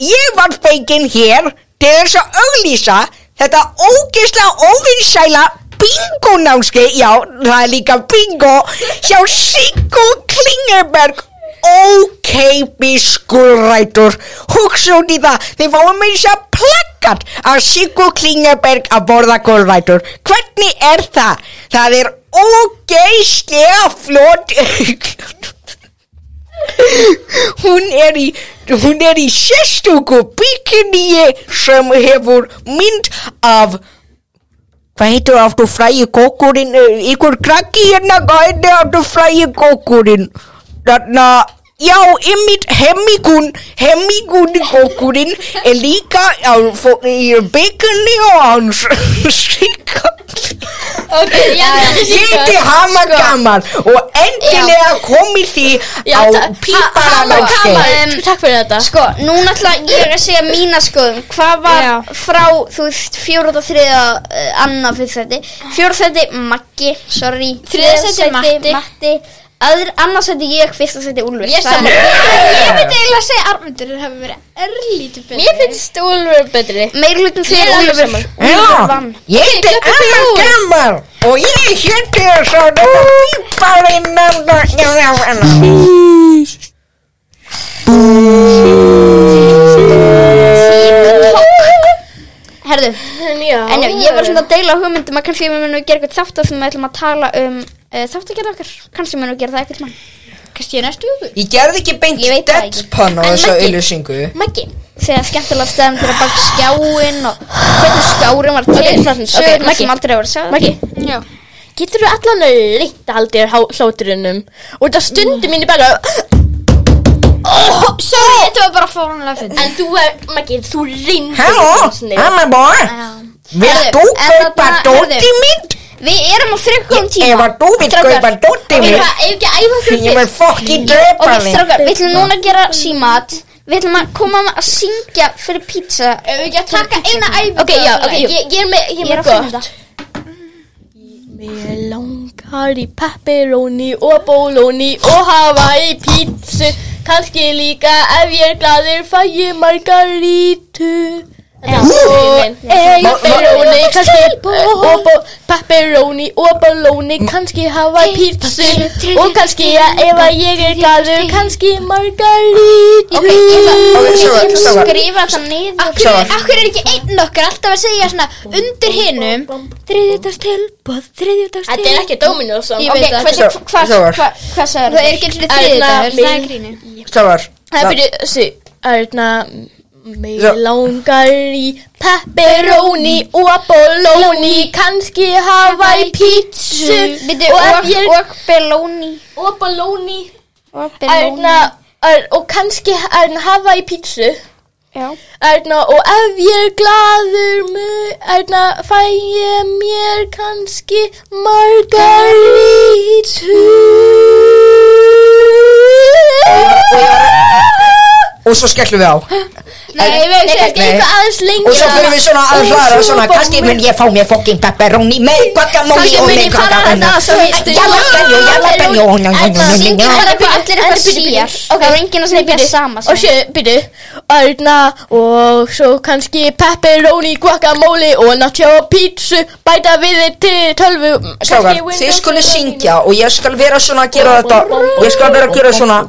C: ég var fenginn hér til þess að auglýsa þetta ógisla óvinsæla bingo-námski, já, það er líka bingo, hjá Siggo Klingerberg ókeipis skurrætur hugsa út í það þið fáum með þess að plakkat af Siggo Klingerberg að borða gulrætur hvernig er það? það er ógeislega flott hún er í hún er í sérstöku bikiníi sem hefur mynd af hvað heitir aftur frægi kókurinn eh, ykkur krakki hérna hvað heitir aftur frægi kókurinn þarna Já, ymmit hemmikún, hemmikún kókurinn er líka á, fó- í byggunni og hans síkall.
A: Ok, já, तो
C: Liti hamar gaman og endilega komið því á píparanámskeið.
A: Um, Takk fyrir þetta
B: Sko, núna ætla ég að segja mína skoðum Hvað var frá, þú veist, fjóruð og þriða uh, Anna fyrir þetta Fjóruð þetta Maggi, sorry
E: Þriðja sæti Matti.
B: Matti Aður, annars þetta ég, fyrsta þetta Úlfur
E: Ég
B: Það er-
E: saman. Ég myndi eiginlega að segja að Armundur hafi verið erlítið betri.
A: Mér finnst Úlfur betri
B: Meiri hlutin
A: Ég er
B: fyrir
A: alveg
B: Úlfur
A: saman.
B: Úlfur vann
C: ég heiti Anna Gamal og ég heiti svo píparanámskeið.
B: Herðu,
A: Já
B: en já, ég var svona að deila hugmyndum að kannski við munum gera eitthvað þátt af því við ætlum að tala um uh, þáttagerð okkar Kannski munum við gera það eitthvað mann
E: Kannski í næstu hugur.
C: Ég gerði ekki beint
B: Ég veit það ekki.
C: deadpan á
B: En
C: þessu
B: Maggi.
C: auðlýsingu.
B: Maggi Þegar skemmtilega stæðum til að baka skjáin og hvernig skjárin var til
A: Ok,
B: okay,
A: ok, Maggi.
B: sögurnar sem aldrei voru sagðar
A: Maggi,
E: Já.
A: Getur þú allan að leita aldrei hláturinnum og það stundum mínu bara oh, Sorry, þetta var bara
B: fórunlega fyrir
A: En þú er, Maggi, þú reyndir
C: Hello, I'm a boy Vilt þú kaupa dóti mitt?
B: Við erum á frekkum
C: Ef
B: tíma
C: að þú vilt
B: Strákar,
C: kaupa dóti
B: Við
C: mitt
B: erum ekki að æfa okkur
C: Ég vil fokkin drepa
B: Ok,
C: þig.
B: strákar, við ætlum núna að gera símat Við ætlum að koma að syngja fyrir pizza Ef við ekki að taka eina æfingu
A: Ok, já, ok, ég,
B: jú.
A: ég er með, ég
B: Ég
A: er
B: er
A: með
B: að finna
A: gott Mér langar í pepperoni og bologni og hafa í pítsu kannski líka ef ég er gladur fæ ég margarítu og
B: Má- má-
A: pepperoni kannski og bo- pepperoni og bologni kannski hafa í pítsu og kannski eh, ef að ég er gladur kannski margarítu
B: Ok, ég ætla
C: Ok,
B: ég ætla
C: strákar,
B: að
C: strákar.
B: skrifa það niður
C: Strákar.
B: Akkur er ekki einn okkar alltaf að segja svona undir hinum Þriðjudagstilbóð, þriðjudagstilbóð
A: Þetta er ekki Dominos
B: Ég
A: Ok,
B: veit það
A: hvernig
C: Strákar.
B: Hvað- hvað-
C: Strákar.
B: hvað- Hvað sagður það? Það er ekki einu sinni þriðjudagur, það er gríni
C: Strákar
A: Það byrju, sí, Arna Mig
C: Já.
A: langar í pepperoni og bologni kannski Hawaii pizzu
B: Mm, Bíddu,
A: og ef
B: og,
A: ég
B: og Belóni
A: og bologni
B: Og
A: Arna ar- og kannski Arna Hawaii pizzu
B: Já.
A: Arna og ef ég er glaður mu- Arna fæ ég mér kannski margarítu
C: Og svo skellum við á
B: Nei, við hefum
A: Nei,
B: sett
A: kannski
C: Nei.
A: eitthvað aðeins lengi
C: Og svo fyrir við svona að hlara svona Kanski mun ég fá mér fokkin pepperoni Með guacamole
A: Kannski
C: og
A: mun
C: með
A: ég fara
C: guacamole
A: þarna svo heitir
C: Jalapenjó, jalapenjó
B: Syngi bara
A: En
B: eitthvað allir
A: bíddu, bíddu,
B: eitthvað síjar
A: bíddu.
B: Það var enginn að syngja
A: bíddu.
B: sama
A: Og sjö, byrju Arna og svo kannski pepperoni, guacamole og nacho pizzu Bæta við þið til tölvu Mm,
C: Strákar, þið skulle syngja og ég skal vera svona að gera þetta og ég skal vera að gera svona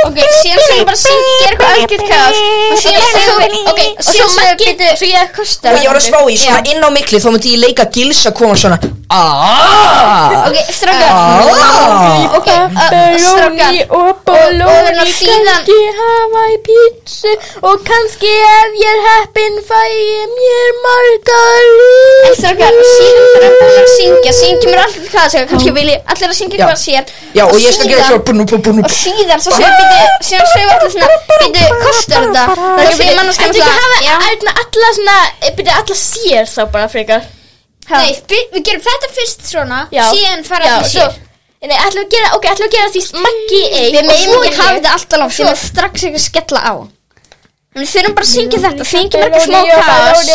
B: Ok, síðan segir bara syngja eitthvað algjört kaos Og síðan segir við Ok, og svo Maggi Svo ég kostar
C: og ég var að spá í svona inn á mikli þá myndi ég leika gils að koma svona aaaah
B: Ok, strákar
C: aaaah
B: Ok, uh, strákar
A: Pepperoni og
B: Og- og hérna
A: bologni
B: síðan-
A: Kannski hafa í pizzu Og kannski ef ég er heppin fæ ég mér margarín
B: En Strákar, síðan bara búin að syngja Syngjum mér allir hvað það segja Kannski vilji allir að syngja hvað sér
C: Já og ég skal gera
B: síðan-
C: svona bú, bú, bú,
B: og síðan svo segir byrju, síðan segir allir svona byrju, kostar þetta það er fyrir mannskjum
A: Þetta ekki hafa
B: já,
A: Arna, alla svona, eh, byrja alla sér þá bara frekar
B: nei, bi- við gerum þetta fyrst svona
A: Já.
B: síðan fara
A: Já,
B: allir
A: svo-
B: sér
A: Nei, ætlum við að gera, ok, ætlum við að gera því Maggi einn
B: Mm, við meðum ekki hafa
A: það
B: þetta alltaf langt við meðum strax ekki að skella á En við þurfum bara að syngja þetta syngjum ekki smá kaos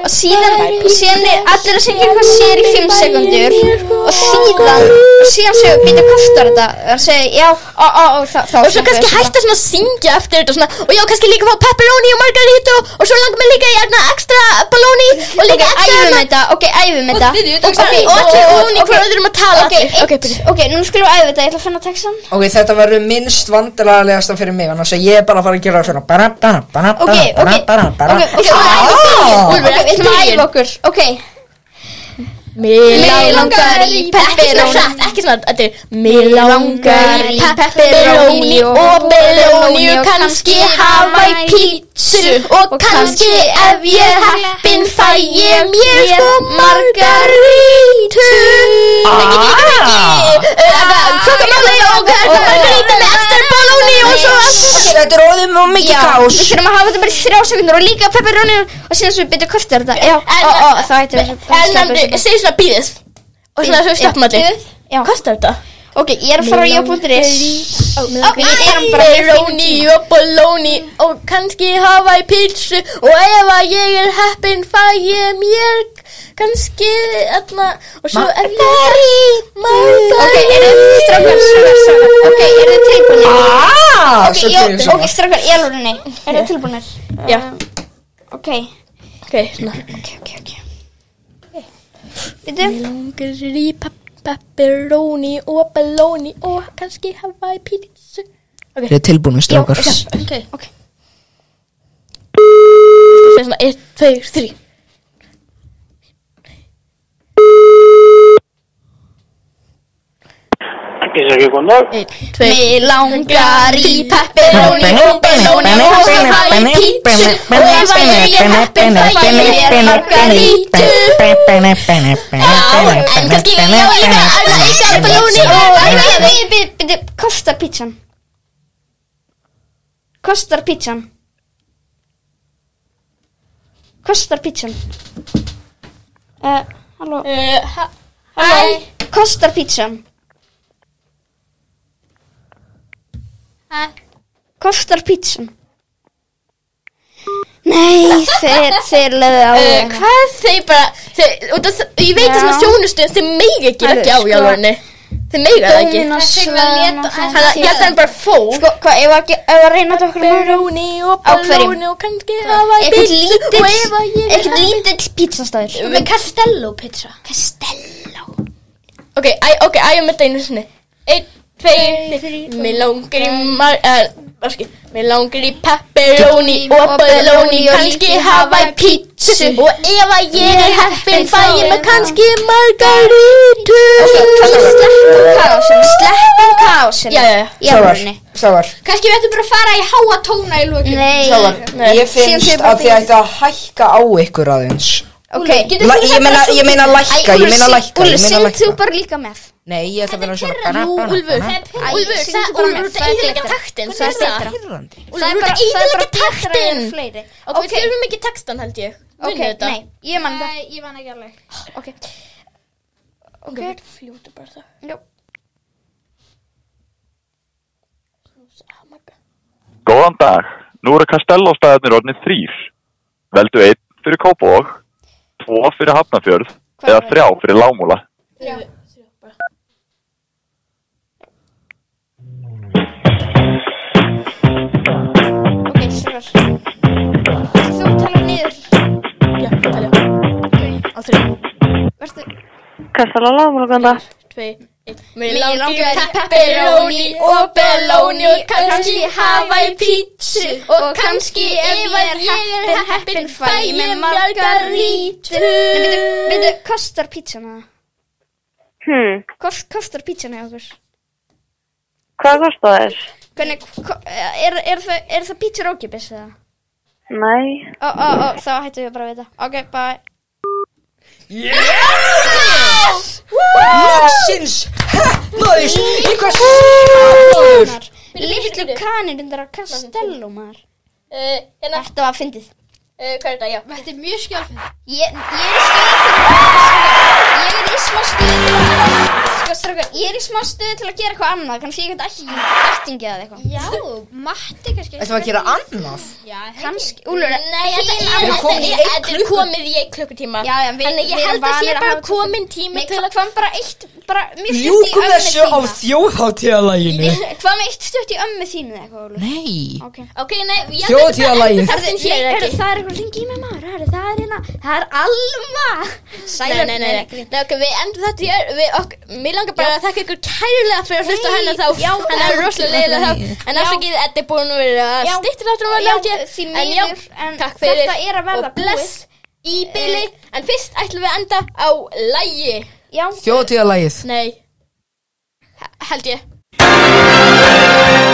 B: og síðan, og síðan er allir að syngja eitthvað sér í 5 sekundur og síðan og síðan segir byrju, kostar þetta það segir já, ó, ó, ó, þá þá
A: Og svo
B: syngja
A: kannski
B: við svona.
A: hætta svona að syngja eftir þetta svona, Og já, kannski líka fá pepperoni og margarita og- Og svo langar mig líka í hérna ekstra ballóni Og
B: Ok,
A: líka ekstra
B: æfum
A: hérna-
B: þetta, ok, æfum þetta
A: Og allir
B: Ok, og- og-
A: ofan í
B: ok.
A: hver öðrum að tala
B: Ok,
A: allir.
B: eitt,
A: byrju.
B: ok, nú skulum við æfa þetta, ég ætla að finna textan
C: Ok þetta verður minnst vandræðalegasta fyrir mig annars að ég er bara að fara að gera svona bara bara bara
B: Ok,
C: bara
B: ok,
C: bara bara bara
B: ok, ok,
C: aaaah
B: ok, við ætlum að æfa okkur Ok,
A: Mig
B: Mig langar í
A: Ekki
B: pepperoni.
A: svona hratt, ekki svona Þetta er Mig langar í pepperoni og belóni og kannski Hawaii pizzu og kannski ef ég er heppin fæ ég mér sko margarítu Kokamáli og margarítu með ekstra balóni og svo
C: Þetta er óðum og
B: já, við
C: mikið kás
B: þurfum að hafa þetta bara í þrjá sekundur og líka pepperoni og síðan svo við byrja kostar þetta Já, ó, ó, þá hættum við að
A: En
B: stoppa
A: nefndu,
B: þessu.
A: segir svona býðið og svona svo
B: Já,
A: stoppum allir
B: bíðið. Já,
A: Kostar þetta?
B: ok, ég er að fara á já.is
A: Ok, við erum bara Pepperoni og bologni og kannski Hawaii pizzu og ef að ég er heppin fæ ég mér kannski aðna og svo er ég
B: Ok,
A: margari
B: eru þið strákar, strákar, strákar Ok, eru þið tilbúinir?
C: aaaah
B: Ok,
C: Svo
B: já,
C: gerir ég
B: ok,
C: svona
B: strákar, ég alveg nei Eru þið tilbúinir?
A: Já,
B: Ok,
A: ok, hérna. svona
B: ok, ok, ok Býtum
A: Langri pepperoni og bologni og kannski Hawaii pizzu
C: Þið er tilbúinu strákar
A: Ok, ok Það er svona 1, 2, 3
I: Halló?
J: ekki sem ekki konar.
K: Mig langar í pepperoni og benóni og þá skal fá í pítsu og ef að ég er heppin þá fæ ég mér margarítu Já, en kannski ég á líka alveg í sjálfbelóni og
B: Bindi, kostar pítsan? Kostar pítsan? Kostar pítsan? Uh, halló Hæ Kostar pítsan?
K: Hæ?
B: Kostar pítsan? Nei, þeir, þeir leðu á
A: Eh,
B: þig.
A: Hvað þeir bara þeir, og það, Ég veit þess að
B: Já.
A: þjónustu en þeir meiga ekki leggja á í alvörni Þeir meiga það ekki
B: Dominos
K: Sigvaldi,
B: svona
A: Þannig að ég held að hann bara fór
B: Sko, hvað, ef að ge- ef að reyna þetta okkur meira
A: Beróni og
B: Á hverjum?
A: balóni og kannski hafa í
B: Eitthvað
A: bíl
B: lítill-
A: Og ef að ég
B: Ekkert lítill pítsastæður
K: Með Castello pizza
A: Ok, æ, ok, ægjum þetta einu sinni Einn, tveir, mér langar í mar... Uh, mér langar í pepperoni og balóni Kannski hafa í pítsu Og ef að ég er heppin fæ ég mig kannski margarítu
B: Sleppum kaosinu Sleppum kaosinu
A: Já, já, já
B: Í alvörunni.
C: Sávar,
K: Kannski við ættum bara að fara í háa tóna í lokin
B: Nei
C: Sávar Ég finnst að þið ætti að hækka á ykkur aðeins
B: Ok
C: La, ég, meina, ég meina lækka, ég meina lækka,
B: Úlur,
C: ég meina
B: syngd þú
C: lækka
B: bara líka með
C: Nei, ég ætla að vera svona
A: Nú, Úlfur, Úlfur,
B: syngdu
A: það
B: bara
A: Úlfur,
B: með,
A: þú ert
B: það
A: að
B: er
A: íðilega
B: betra.
A: taktin
B: Það er
A: Það er
B: betra.
C: Pyrrandi
A: Úlfur, þú ert að íðilega taktin Ok, við þurfum ekki taktan held ég
B: Ok,
A: Vinnu þetta
B: nei, ég man það
K: Ég vann ekki alveg
B: Ok
A: Ok, við fljótu bara það
D: Góðan dag. Nú eru Kastellóstaðarnir orðinir þrýr. Veldu einn fyrir Kópavog, tvo fyrir Hafnarfjörð eða þrjá fyrir Lámúla.
B: Ok, Sjöfar Þú talar niður
A: Já, talja Á þrjú
B: Vertu
A: tvei, einn Mér langar í pepperoni oh, og belóni
B: oh,
A: og kannski hafa í pítsu og kannski ef að ég er heppin fæ ég margarítu
B: Veitu, kostar pítsan það? Hmm Kost, Kostar pítsan hjá okkur?
F: Hvað kostar þér?
B: Hvernig, ko- er, er, það, er það pítsur ókipis eða?
F: Nei.
B: Ó, ó, ó, þá hættum við bara að vita Ok, bye
C: Loksins Hefnaðist Eitthvað smáður
B: Litlu kanir undir að kastellum maður
A: Hérna,
B: Þetta var fyndið
A: eh, hvað er þetta, já
K: Þetta er mjög skjálfið
B: Ég, ég er í stöðu Ég er í smá stöðu til að Sko, strákar, ég er í smá stöðu til að gera eitthvað annað Kannski ég get ekki ættingi eða eitthvað
K: Já, Matti kannski
C: Þetta var að gera annað
B: Kannski, Úlur
A: Nei, þetta er
B: Við erum komin í
A: alveg- þetta er komið í einn klukkutíma
B: Já, já, við-
A: Þannig ég
B: við erum
A: held að
B: vanir
A: sé
B: að
A: bara
B: hafa-
A: komin tími
B: Nei,
A: til
B: hva-
A: að
B: hvað með bara eitt bara, mjög stutt í
C: Ljúkum
B: ömmu
C: þessu á
B: þína
C: þjóðhátíðalæginu
B: Hvað með eitt stutt í ömmu þínu eða eitthvað, Úlur
C: Nei
B: Ok
A: Ok, nei, ég
C: Þjóðhátíðalægið.
A: Það er
B: Ég,
A: hér
B: er,
A: ekki
B: það er eitthvað, ringi í mig maður, herru, það er hérna, það er Alma
A: Nei, nei, nei, nei, nei ok, við endum þetta hér við, ok, Mér langar bara að þakka ykkur kærulega fyrir að hlusta á hennar þá
B: já,
A: Hann er rosalega leiðilega þá En afsakið, þetta er búin að vera
B: Já.
A: stýttir áttur
B: Já,
A: um að
B: því
A: En já,
B: miður, en
A: takk fyrir
B: þetta er að verða
A: Og
B: Eh.
A: bless í byli En fyrst ætlum við að enda á lægi
B: Já,
C: Þjóðhátíðalægið
A: Nei, he- held ég